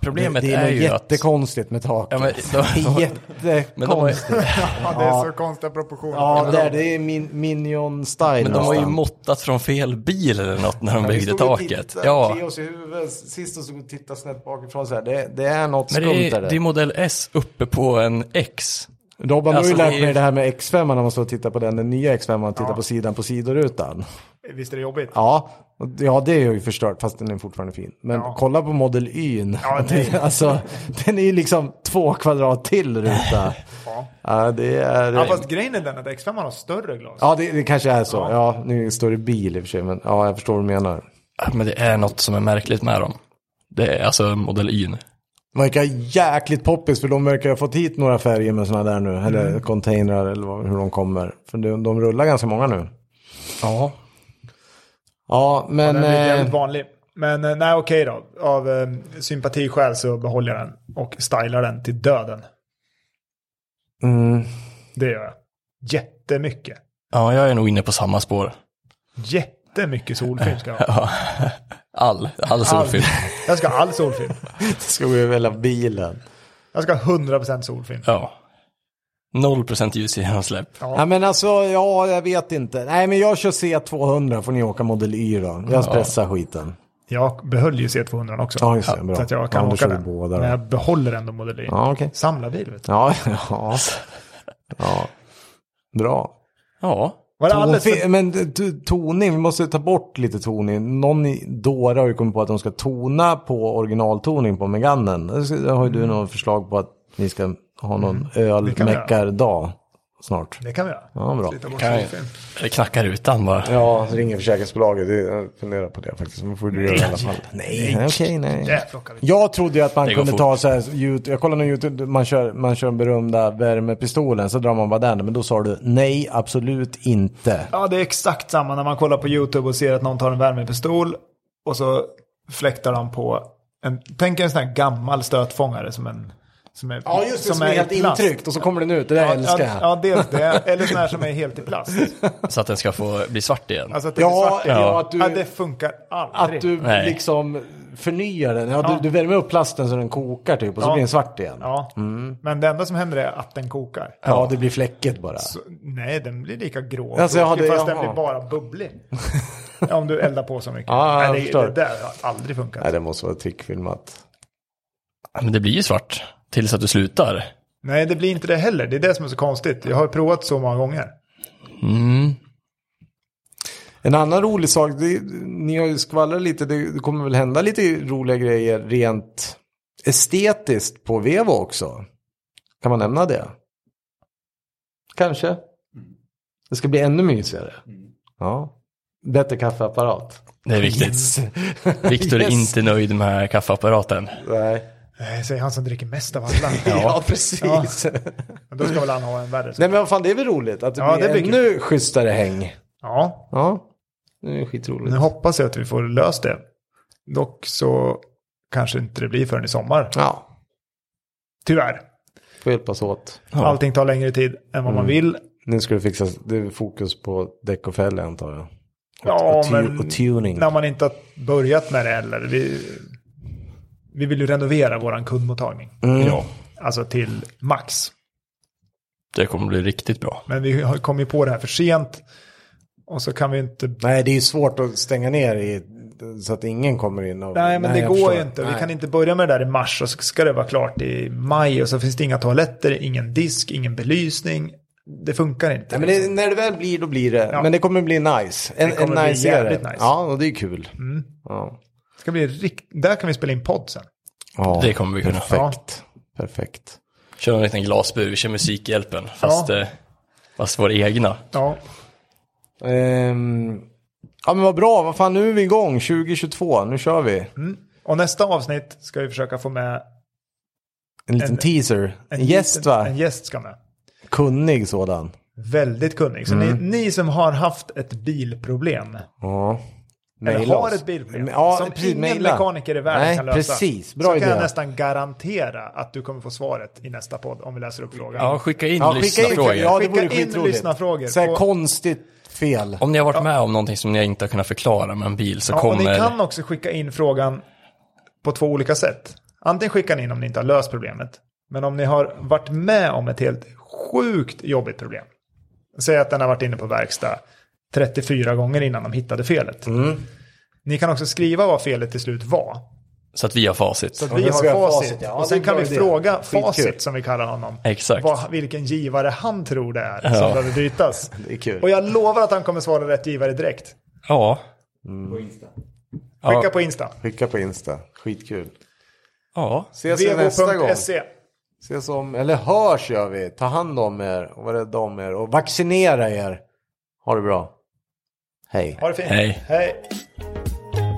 problemet
det
är,
något
ju att...
jättekonstigt med taket.
Ja,
*laughs*
men
Det är
de- Men de har ju-
jättekonstigt.
*laughs*
Ja, det är så konstiga proportioner.
Ja, det, är- det är min, minion style
Men de har ju måttat från fel bil eller något när de byggde taket. Ja,
Tre oss i huvudet, sist och så och titta snett bakifrån så här. Det, det är något
men
skumt
det
där.
är, det är modell S uppe på en X.
Robban,
alltså,
du har ju
det
lärt
är-
mig det här med X5 när man står och tittar på den, den nya X5, man tittar
Ja.
på sidan på sidorutan.
Visst är det jobbigt?
Ja, och- ja det är ju förstört fast den är fortfarande fin. Men
Ja.
kolla på Model Y. *laughs*
Ja, nej.
alltså, den är ju liksom två kvadrat till
*laughs*
ruta.
Ja.
ja, det är...
Ja, fast grejen är den att X5 har större glas.
Ja, det, det kanske är så. Ja, nu står det bil i och för sig, men ja, jag förstår vad du menar.
Ja, Men det är något som är märkligt med dem. Det är alltså modell Y.
De verkar jäkligt poppis, för de verkar ha fått hit några färger med sådana där nu.
Mm.
Eller containrar, eller vad, hur de kommer. För de, de rullar ganska många nu.
Ja.
Ja, men...
Den är
eh,
jävligt vanlig. Men eh, nej, okej då. Av eh, sympatiskäl så behåller jag den och stylar den till döden.
Mm.
Det gör jag. Jättemycket.
Ja, jag är nog inne på samma spår.
Jättemycket solfilm ska
*laughs*
jag ha.
Ja. *laughs* All, all solfilm.
All- Jag ska ha all solfilm.
Det ska gå över hela bilen.
Jag ska ha 100% solfilm.
Ja. 0% ljusgenomsläpp.
Ja, men alltså, ja, jag vet inte. Nej, men jag kör C200 får ni åka Model Y då. Jag stressar skiten.
Jag behöll ju C200 också.
Ja, just det. Bra.
Så att jag kan
ja, då
åka
kör vi
den.
Båda, då.
Men jag behåller ändå Model Y.
Ja, okej.
Samlarbil vet du.
Ja, *laughs* ja. ja. Bra.
Ja.
Var det alldeles
Tofi,
för...
men t- toning, vi måste ta bort lite toning. Någon i- dåre har ju kommit på att de ska tona på originaltoning på Meganen. Det ska- Har ju du något förslag på att ni ska ha någon
kan vi
ölmeckardag snart?
Det kan vi göra.
Ja, bra.
Slita bort
Kan jag-
solfilm.
Eller knacka rutan bara.
Ja, ringer försäkringsbolaget. Det- Jag funderar på det faktiskt. Men får du göra i alla fall. Nej, nej, okej, nej.
Jävlar, kan vi-
Jag trodde ju att man
Det går
kunde
fort.
ta så här, YouTube, jag kollar nu YouTube, man kör, man kör den berömda värmepistolen, så drar man bara den. Men då sa du nej, absolut inte.
Ja, det är exakt samma när man kollar på YouTube och ser att någon tar en värmepistol och så fläktar de på en, tänk en sån här gammal stötfångare som en, som är,
Ja, just det, som, är helt
i plast.
intryckt och så kommer den ut. Det där
Ja,
älskar
ja,
jag.
ja, dels det. Eller sån här som är helt i plast.
Så att den ska få bli svart igen.
Alltså att det är
Ja,
svart.
ja, att du,
ja, det funkar aldrig.
att du
Nej.
liksom förnyar den. Ja,
Ja.
Du, du värmer upp plasten så den kokar typ och så
Ja.
blir den svart igen. Ja.
Ja, men det enda som händer är att den kokar.
det blir fläcket bara.
Så, Alltså, nej, den blir lika grå och
Alltså, jag
tråkig,
hade-
fast den
jaha.
blir bara
*laughs*
bubblig. Ja, Om du eldar på så mycket.
Ja, jag
nej, det,
förstår.
det där har aldrig funkat.
Nej, det måste vara trickfilmat.
Ja, Men det blir ju svart. Tills att du slutar.
Nej, det blir inte det heller. Det är det som är så konstigt. Jag har provat så många gånger.
Mm.
En annan rolig sak, det, ni har ju skvallrat lite, det, det kommer väl hända lite roliga grejer rent estetiskt på Vevo också. Kan man nämna det? Kanske. Det ska bli ännu mysigare.
Mm.
Ja. Bättre kaffeapparat.
Det är *laughs* viktigt. Viktor är
Yes.
inte nöjd med kaffeapparaten.
Nej.
Nej, säger Eh, han som dricker mest av
*laughs*
alla.
Ja,
ja.
precis.
Men då ska väl han ha en värre.
*laughs* Nej men vad fan det är väl roligt att det
Ja,
blir
det blir kul.
ännu schysstare häng.
Ja,
Ja, det är skitroligt.
nu hoppas jag att vi får löst det. Dock så kanske inte det blir förrän i sommar.
Ja,
Tyvärr.
får hjälpas åt.
Allting tar längre tid än
Mm.
vad man vill.
Nu ska det fixas, det är fokus på däck och fälg antar jag.
Ja,
och, tu-
men
och tuning.
när man inte har börjat med det heller. Vi, vi vill ju renovera vår kundmottagning.
Mm.
Ja,
Alltså till max.
det kommer bli riktigt bra.
Men vi har- kom ju på det här för sent. Och så kan vi inte
Nej, det är ju svårt att stänga ner i, så att ingen kommer in. Och,
Nej, men det
jag
går
förstår.
ju inte. Vi
Nej.
kan inte börja med det där i mars och så ska det vara klart i maj och så finns det inga toaletter, ingen disk, ingen belysning. Det funkar
Nej,
inte.
men det, när det väl blir, då blir det.
Ja.
Men det kommer bli nice. En,
Det kommer
en
bli
nice serie.
jävligt nice.
Ja, och det är kul.
Mm.
Ja.
Det ska bli rikt... Där kan vi spela in podd sen.
Ja,
Det kommer vi kunna.
Perfekt. Perfekt.
Kör en liten glasbur, vi kör Musikhjälpen. Fast,
Ja.
eh, fast våra egna.
Ja,
Ehm, ja, men vad bra. Vad fan, nu är vi igång. 2022, nu kör vi.
Mm. och nästa avsnitt ska vi försöka få med
En liten
En-
teaser. En,
en
gäst
liten-
va?
En gäst ska med.
Kunnig sådan.
Väldigt kunnig. Så
Mm.
ni, ni som har haft ett bilproblem,
Ja.
eller
Maila
har
oss.
ett bilproblem,
Men- ja,
som
precis,
ingen
maila.
mekaniker i världen
Nej,
kan lösa,
precis. Bra
så
idé.
kan jag nästan garantera att du kommer få svaret i nästa podd om vi läser upp frågan.
Ja, skicka in
Ja, skicka in,
lyssnarfrågor.
ja, det
Skicka
vore
in
skitroligt.
lyssnarfrågor
Så här
på-
konstigt fel.
Om ni har varit med om någonting som ni inte har kunnat förklara med en bil så
Ja, och
kommer...
ni kan också skicka in frågan på två olika sätt. Antingen skickar ni in om ni inte har löst problemet. Men om ni har varit med om ett helt sjukt jobbigt problem. Säg att den har varit inne på verkstad 34 gånger innan de hittade felet.
Mm.
Ni kan också skriva vad felet till slut var.
Så att vi har facit.
Så att
Ja,
vi
det ska
har
jag ha
facit.
facit, ja.
och
Det är
sen
en
kan vi
bra idé.
fråga
Skitkul.
facit som vi kallar honom.
Exakt.
Vad, vilken givare han tror det är som
Ja.
behöver bytas.
*laughs* Det är kul.
Och jag lovar att han kommer svara rätt givare direkt.
Ja.
På Insta.
Skicka
Ja.
på Insta.
Skicka på Insta. Skitkul.
ja.
Ses vi nästa gång.
Vevo.se.
Ses om, eller hörs gör vi. Ta hand om er och var rädda om er och vaccinera er. Ha det bra. Hej.
Ha det fint.
Hej.
Hej.